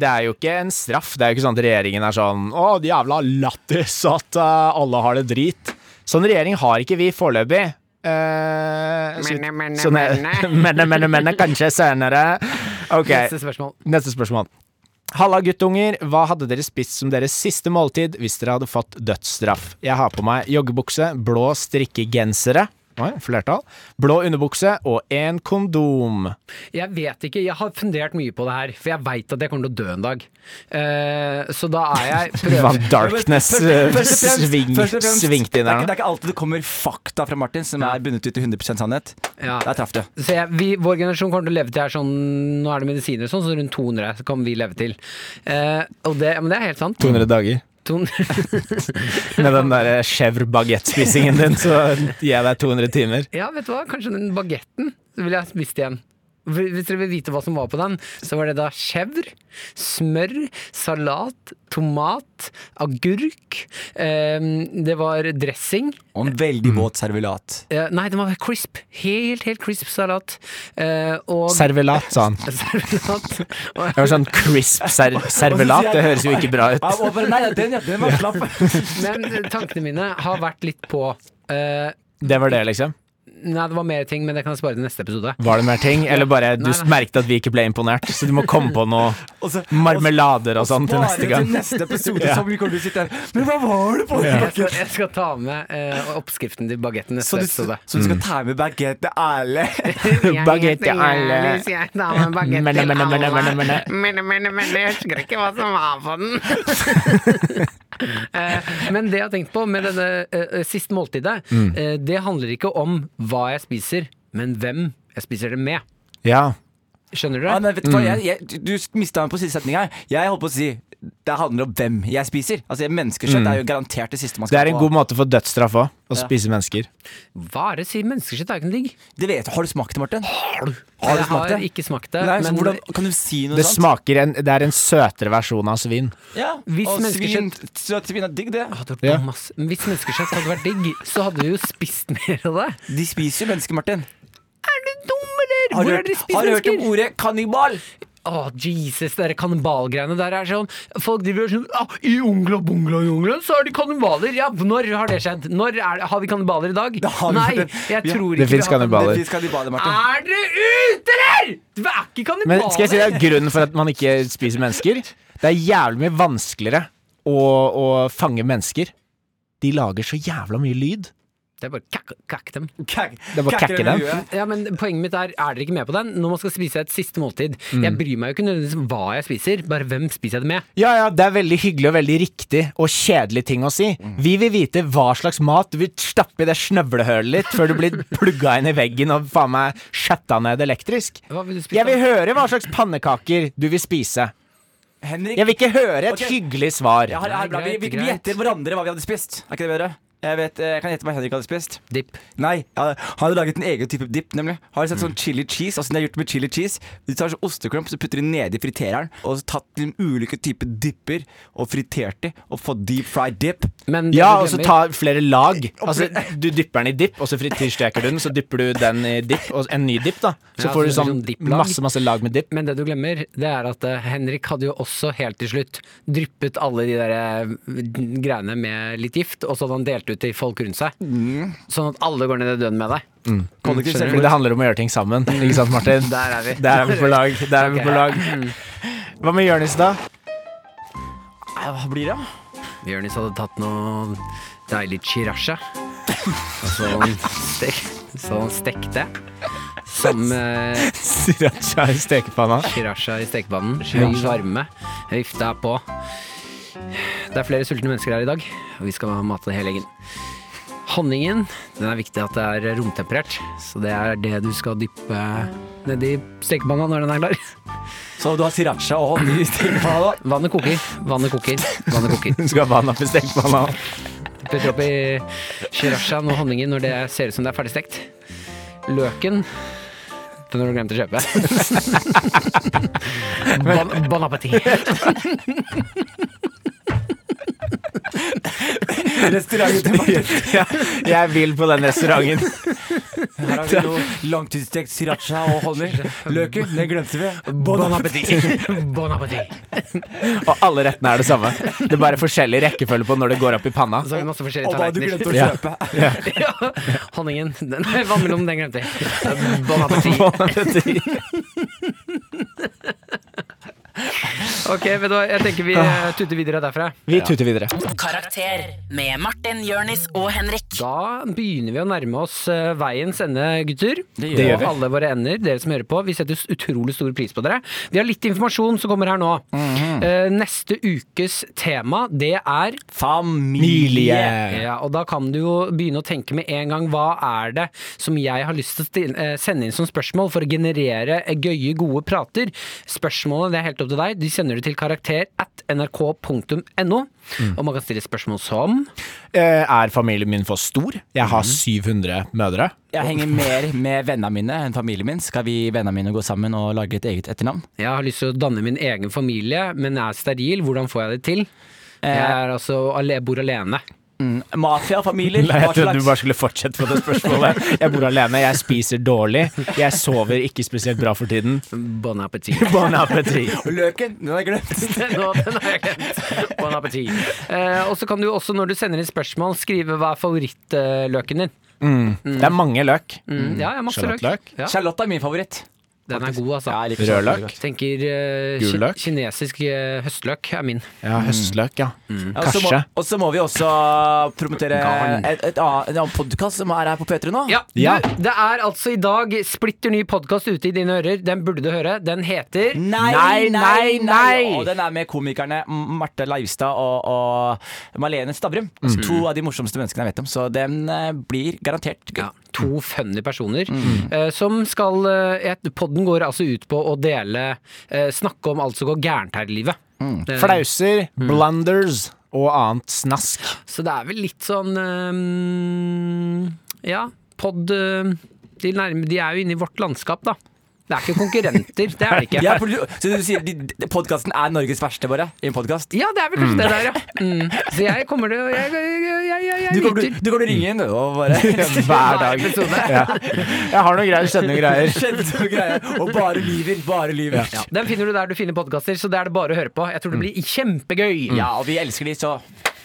S3: det er jo ikke en straff. Det er jo ikke sånn at regjeringen er sånn Å, de jævla lættis at eh, alle har det drit. Sånn regjering har ikke vi foreløpig. Eh, så-
S7: Menne, menne,
S3: sånn er-
S7: menne.
S3: menne, menne, menne, kanskje senere. Ok.
S2: Neste spørsmål.
S3: Neste spørsmål. Halla, guttunger. Hva hadde dere spist som deres siste måltid hvis dere hadde fått dødsstraff? Jeg har på meg joggebukse, blå strikkegensere Oi, flertall. Blå underbukse og en kondom.
S2: Jeg vet ikke, jeg har fundert mye på det her, for jeg veit at jeg kommer til å dø en dag. Eh, så da er jeg
S3: Det
S2: prøver,
S3: var en darkness eh,
S4: Først- først og fremst-
S3: sving,
S4: først og fremst,
S3: svingt
S4: det er,
S3: inn
S4: ikke-
S3: her
S4: det
S3: nå.
S4: er ikke alltid det kommer fakta fra Martin som er bundet ut i 100 sannhet.
S2: Ja.
S4: Der traff du.
S2: Så jeg, vi, vår generasjon kommer til å leve til jeg er sånn Nå er det medisiner og sånn, så rundt 200 så kan vi leve til. Eh, og det, men det er helt sant.
S3: 200 dager.
S2: 200.
S3: Med den der eh, chèvre baguette-spisingen din, så gir jeg deg 200 timer.
S2: Ja, vet du hva? Kanskje den bagetten ville jeg spist igjen. Hvis hvis dere vil vite hva som var på den, så var det da chèvre, smør, salat, tomat, agurk. eh, det var dressing.
S4: Og en veldig våt servelat.
S2: Eh, nei, den var crisp. Helt, helt crisp salat. Eh, og
S3: Servelat, sa han.
S2: Servelat. Og
S3: Det var sånn crisp ser servelat. Det høres jo ikke bra ut.
S4: Ja, og bare, nei, ja, den, ja, den var slapp.
S2: Men tankene mine har vært litt på eh,
S3: Det var det, liksom.
S2: Nei, det var mer ting, men det kan jeg spare til neste episode.
S3: Var det mer ting? Eller bare du
S2: Nei, nei.
S3: merket at vi ikke ble imponert, så du må komme på noe
S4: Og så-
S3: marmelader og sånn til
S4: Bare
S3: neste gang.
S4: Til neste episode
S3: Ja.
S4: så vi kommer til å sitte her Men hva var det på?
S2: Jeg skal, jeg skal ta med eh, oppskriften til bagetten
S4: Så
S2: neste
S4: du,
S2: episode.
S4: så du skal ta med bagett til alle?
S3: Baguette til alle.
S7: Jonis, jeg tar
S3: Menne,
S7: med baguette til
S3: menne, menne, menne,
S7: alle.
S3: menne.
S7: Men, men, men, jeg husker ikke hva som var på den.
S2: Eh, Men det jeg har tenkt på med denne eh, eh, siste måltidet,
S4: Mm.
S2: eh, det handler ikke om hva jeg spiser, men hvem jeg spiser det med.
S3: Ja.
S2: Skjønner du
S4: Ja,
S2: det?
S4: men vet du hva, jeg, jeg, du mista meg på siste setning her. Jeg holdt på å si det handler om hvem jeg spiser. Altså
S2: Mm.
S4: Menneskekjøtt er jo garantert det siste man
S3: Det
S4: skal
S3: er en
S4: få.
S3: god måte for dødsstraff òg. Å
S4: Ja.
S3: spise mennesker.
S2: Bare si menneskeskjøtt er ikke noe digg.
S4: Det vet, har du smakt det, Martin? Har du,
S2: Jeg
S4: smakt det?
S2: har ikke smakt det.
S4: Nei, så
S2: men
S4: hvordan, kan du si noe
S3: Det
S4: sånt?
S3: smaker en, Det er en søtere versjon av svin.
S4: Ja.
S2: Hvis
S4: og svin,
S2: menneskekjøtt- Ah.
S4: så svin er digg, det.
S2: Det hadde vært
S3: Ja.
S2: masse- men Hvis menneskeskjøtt hadde vært digg, så hadde vi jo spist mer av det.
S4: De spiser jo mennesker, Martin.
S2: Er du dum, eller?
S4: Har du,
S2: Hvor er
S4: hørt,
S2: dere spiser
S4: har du hørt om
S2: mennesker?
S4: ordet kannibal?
S2: Å, Jesus, det der kannibalgreiene der er sånn Folk driver og sånn ah, I Ungla, bungla, i Ungla, så er de kannibaler. Ja, når har det skjedd? Når er det, Har vi kannibaler i dag?
S4: har vi
S2: Nei,
S4: det.
S2: jeg
S4: Ja,
S2: tror
S3: det
S2: ikke vi
S3: finnes
S2: har det.
S3: kannibaler.
S4: Det fins kannibaler, Martin.
S2: Er dere ute, eller?! Det er ikke
S3: Men
S2: kannibaler!
S3: skal jeg si det er grunnen for at man ikke spiser mennesker? Det er jævlig mye vanskeligere å, å fange mennesker. De lager så jævla mye lyd.
S2: Det er bare kakk, kakk dem.
S4: Kak-
S3: Det er bare
S4: kakker
S3: kakker
S4: under
S3: dem.
S4: huet.
S2: Ja, men Poenget mitt er, er dere ikke med på den? Når man skal spise et siste måltid
S3: Mm.
S2: Jeg bryr meg jo ikke nødvendigvis om hva jeg spiser, bare hvem spiser jeg det med?
S3: Ja, ja, det er veldig hyggelig og veldig riktig og kjedelig ting å si.
S2: Mm.
S3: Vi vil vite hva slags mat du vil stappe i det snøvlehølet ditt før du blir plugga inn i veggen og faen meg shatta ned elektrisk.
S2: Hva vil du spise?
S3: Jeg vil høre hva slags pannekaker du vil spise.
S4: Henrik,
S3: Jeg vil ikke høre et
S4: Ok.
S3: hyggelig svar.
S4: jeg har, jeg har, bra. vi,
S2: Greit,
S4: vi, vi
S2: greit.
S4: gjetter hverandre hva vi hadde spist. Er ikke det bedre? Jeg, vet, eh, jeg kan gjette hva Henrik hadde spist.
S2: Dipp.
S4: Nei, ja, han hadde laget en egen type dip, nemlig. Har du sett sånn chili cheese? Altså, det er gjort med chili cheese. Du tar sånn osteklump, så putter du nedi fritereren, og så tatt de ulike typer dipper og fritert de, og fått deep fried dip.
S2: Men det
S3: Ja,
S2: du
S3: og så
S2: glemmer-
S3: ta flere lag. Altså, du dypper den i dipp, og så frityrsteker du den. Så dypper du den i dipp, og en ny dipp, da. Så
S2: Ja, så
S3: får du
S2: det blir
S3: sånn
S2: sånn dipplag.
S3: masse, masse lag med dipp.
S2: Men det du glemmer, det er at eh, Henrik hadde jo også helt til slutt dryppet alle de der eh, greiene med litt gift, og så hadde han delt ut til folk rundt seg.
S3: Mm.
S2: Sånn at alle går ned i døden med deg.
S4: Kollektiv
S3: Fordi
S4: selvmord.
S3: det handler om å gjøre ting sammen. Ikke sant, Martin?
S2: Der Mm, er vi.
S3: Der er vi på lag. Der er vi på lag. Hva med Jonis, da?
S4: Nei, Hva blir det? da?
S2: Jonis hadde tatt noe deilig chirasha. Og så han, stek, så han stekte. Som eh,
S3: Sriracha i stekepanna.
S2: chirasha i stekepannen. Høy varme. Vifta er på. Det er flere sultne mennesker her i dag, og vi skal mate hele gjengen. Honningen den er viktig at det er romtemperert, så det er det du skal dyppe nedi stekepanna når den er klar.
S4: Så du har sriracha og honning i stekepanna da?
S2: Vannet koker, vannet koker, vannet koker.
S3: Du skal ha vann oppi stekepanna.
S2: Putter oppi chirashaen og honningen når det ser ut som det er ferdigstekt. Løken den har du glemt å kjøpe. bon, bon appétit.
S4: Restauranten til Martin.
S3: Ja, jeg vil på den restauranten.
S4: Her har vi noe langtidsstekt sriracha og honning. Løken, den glemte vi.
S2: Bon appétit. Bon appétit.
S3: Og alle rettene er det samme. Det er bare forskjellig rekkefølge på når det går opp i panna.
S2: Og så har vi masse forskjellige
S4: Og hva du
S2: tallerkener.
S4: glemte å kjøpe.
S2: Ja, honningen. Den, vannmelonen, den glemte jeg. Bon appétit. Ok, vet du hva, jeg tenker vi eh, tuter videre derfra.
S3: Vi tuter videre.
S8: Karakter med Martin, Jørnis og Henrik.
S2: Da begynner vi å nærme oss eh, veiens ende, gutter. Det
S4: gjør
S2: og alle våre ender, dere som hører på. Vi setter s- utrolig stor pris på dere. Vi har litt informasjon som kommer her nå. Eh, neste ukes tema, det er
S4: Familie.
S2: ja, Og da kan du jo begynne å tenke med en gang hva er det som jeg har lyst til å stil- eh, sende inn som spørsmål for å generere eh, gøye, gode prater. Spørsmålene det er helt opp til deg. De sender du til karakter at nrk.no. Og man kan stille spørsmål som
S3: Eh, Er familien min for stor? Jeg har 700 mødre.
S4: Jeg henger mer med vennene mine enn familien min. Skal vi vennene mine gå sammen og lage et eget etternavn?
S2: Jeg har lyst til å danne min egen familie, men er steril. Hvordan får jeg det til? Jeg
S4: Eh,
S2: er altså, ale- bor alene.
S4: Mm. Mafiafamilier?
S3: Nei,
S4: Hva
S3: jeg trodde du
S4: slags-
S3: bare skulle fortsette på det spørsmålet. Jeg bor alene, jeg spiser dårlig, jeg sover ikke spesielt bra for tiden.
S2: Bon appétit.
S3: Bon appétit.
S4: Løken, den har jeg glemt.
S2: Nå, den har jeg glemt. Bon appétit. Eh, og så kan du også, når du sender inn spørsmål, skrive hva er favorittløken din.
S3: Det er mange løk.
S2: Mm. Ja, jeg har masse løk.
S3: Sjalottløk?
S2: Ja.
S4: Charlotte er min favoritt.
S2: Den er god, altså.
S4: Ja, jeg liker
S3: Rødløk?
S4: sånn.
S2: Tenker eh,
S3: Gul
S2: ki-
S3: løk?
S2: kinesisk eh, høstløk er min.
S3: Ja, høstløk, ja.
S4: Ja, og så må-
S3: Kanskje.
S4: Og så må vi også promotere
S2: Garn.
S4: et, et, annet- en annen podkast som er her på P3 nå.
S2: Ja,
S3: Ja.
S2: Du, det er altså i dag splitter ny podkast ute i dine ører. Den burde du høre. Den heter
S4: Nei, nei, nei! Og den er med komikerne Marte Leivstad og, og Malene Stavrum.
S3: Mm.
S4: Altså To av de morsomste menneskene jeg vet om. Så den eh, blir garantert gøy.
S2: Ja, to funny personer
S4: Mm.
S2: eh, som skal eh, et- Podden går altså ut på å dele eh, Snakke om alt som går gærent her i livet. Eh,
S3: Flauser, blunders og annet snask.
S2: Så det er vel litt sånn eh, Ja, pod eh, de, nærme, de er jo inne i vårt landskap, da. Det er ikke konkurrenter, det er det ikke.
S4: Ja, for du, så du sier de- podkasten er Norges verste, bare? I en podkast?
S2: Ja, det er vel kanskje det der, ja. Mm. Så jeg kommer til å Jeg, jeg, jeg, jeg, jeg,
S4: Du kommer
S2: lytter.
S4: til du kommer til å ringe inn du, og bare
S3: Hver dag. Ja. Jeg har noen greier, skjønner noen greier.
S4: Skjedde noe greier. Og bare lyver. Bare lyver. Ja.
S2: Den finner du der du finner podkaster, så det er det bare å høre på. Jeg tror det
S4: Mm.
S2: blir kjempegøy.
S4: og vi elsker de, så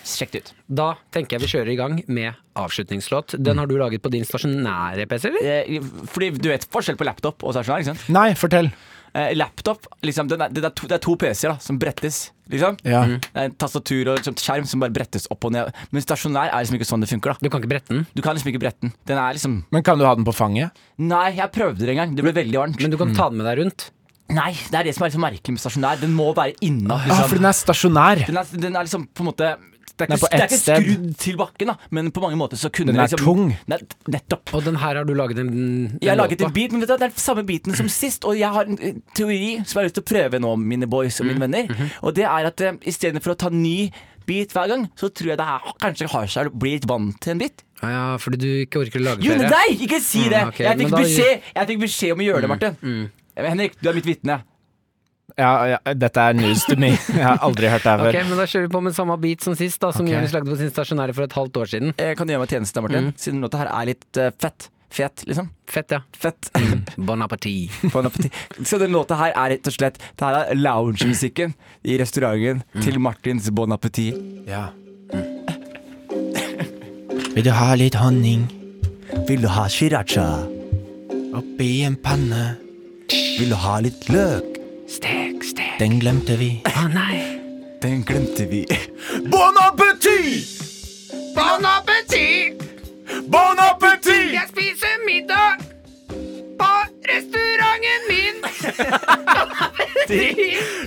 S4: sjekk det ut.
S2: Da tenker jeg vi kjører i gang med avslutningslåt. Den har du laget på din stasjonære PC, eller?
S4: Eh, Fordi du vet forskjell på laptop og stasjonær, ikke sant?
S3: Nei, fortell.
S4: Eh, laptop, liksom, den er, det, er to, det er to PC-er da, som brettes. Liksom.
S3: Ja.
S4: Det er En tastatur og liksom, skjerm som bare brettes opp og ned. Men stasjonær er liksom ikke sånn det funker. da
S2: Du kan ikke brette den,
S4: Du kan liksom ikke brette den. Den er liksom
S3: Men kan du ha den på fanget?
S4: Nei, jeg prøvde det en gang. Det ble veldig varmt.
S2: men du kan ta den med deg rundt.
S4: Nei, det er det som er liksom merkelig med stasjonær. Den må være inna.
S3: Ah, for
S4: Liksom.
S3: den er stasjonær.
S4: Den, er, den er liksom på en måte det er,
S3: Den er
S4: ikke,
S3: på
S4: det er
S3: ett
S4: ikke
S3: sted.
S4: skrudd til bakken, da, men på mange måter så kunne
S3: Den
S4: det
S3: er
S4: liksom,
S3: tung.
S4: Nett- nettopp.
S2: Og den her har du laget en, en
S4: Jeg har
S2: låt
S4: laget
S2: på.
S4: en beat, men vet du, hva, det er samme beaten som sist. Og jeg har en eh, teori som jeg har lyst til å prøve nå, mine boys og mine
S2: Mm.
S4: venner.
S2: Mhm.
S4: Og det er at eh, i stedet for å ta ny beat hver gang, så tror jeg det her kanskje har seg å bli litt vant til en beat.
S2: Ja, ja, fordi du ikke orker å lage
S4: Jo,
S2: flere. Mm,
S4: nei, ikke si det!
S2: ok,
S4: jeg,
S2: men
S4: fikk
S2: da- Mm,
S4: beskjed, jeg fikk beskjed om å gjøre det, Martin. Eh, Henrik, du er mitt vitne.
S3: Ja, ja, dette er news to me. Jeg har aldri hørt det her
S2: Ok,
S3: før.
S2: men Da kjører vi på med samme beat som sist, da, som
S3: Ok.
S2: Jonis lagde på sin stasjonære for et halvt år siden.
S4: Eh, Kan du gjøre meg tjeneste, Martin?
S2: Mm.
S4: Siden låta her er litt eh, fett. Fet, liksom.
S2: Fett, ja.
S4: Fett.
S2: Bon appétit.
S4: Bon appétit. Så den låta her er rett og slett Det her er loungemusikken i restauranten
S2: Mm.
S4: til Martins Bon Appétit.
S3: Vil du ha litt honning
S4: Vil du ha shiracha?
S3: oppi en panne?
S4: Vil du ha litt løk?
S2: Stek, stek.
S3: Den glemte vi.
S2: Å nei.
S4: Den glemte vi.
S5: Bon appétit!
S7: Bon appétit!
S5: Bon appétit!
S7: Jeg spiser middag på restauranten min!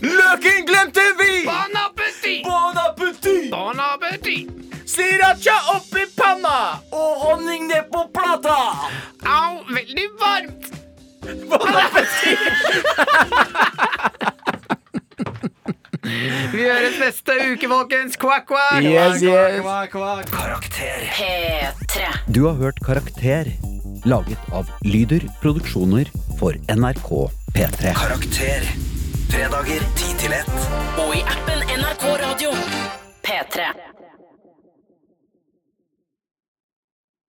S5: Løken glemte vi!
S7: Bon appétit!
S5: Bon appétit!
S7: Bon appétit!
S5: Sriracha oppi panna!
S4: Og honning ned på plata!
S7: Au, veldig varmt!
S2: Vi høres neste uke, folkens. Kvakk, kvakk.
S3: Yes, yes.
S8: P3.
S9: Du har hørt Karakter, laget av Lyder Produksjoner for NRK P3.
S6: Karakter. Fredager 10 til 1.
S8: Og i appen NRK Radio. P3.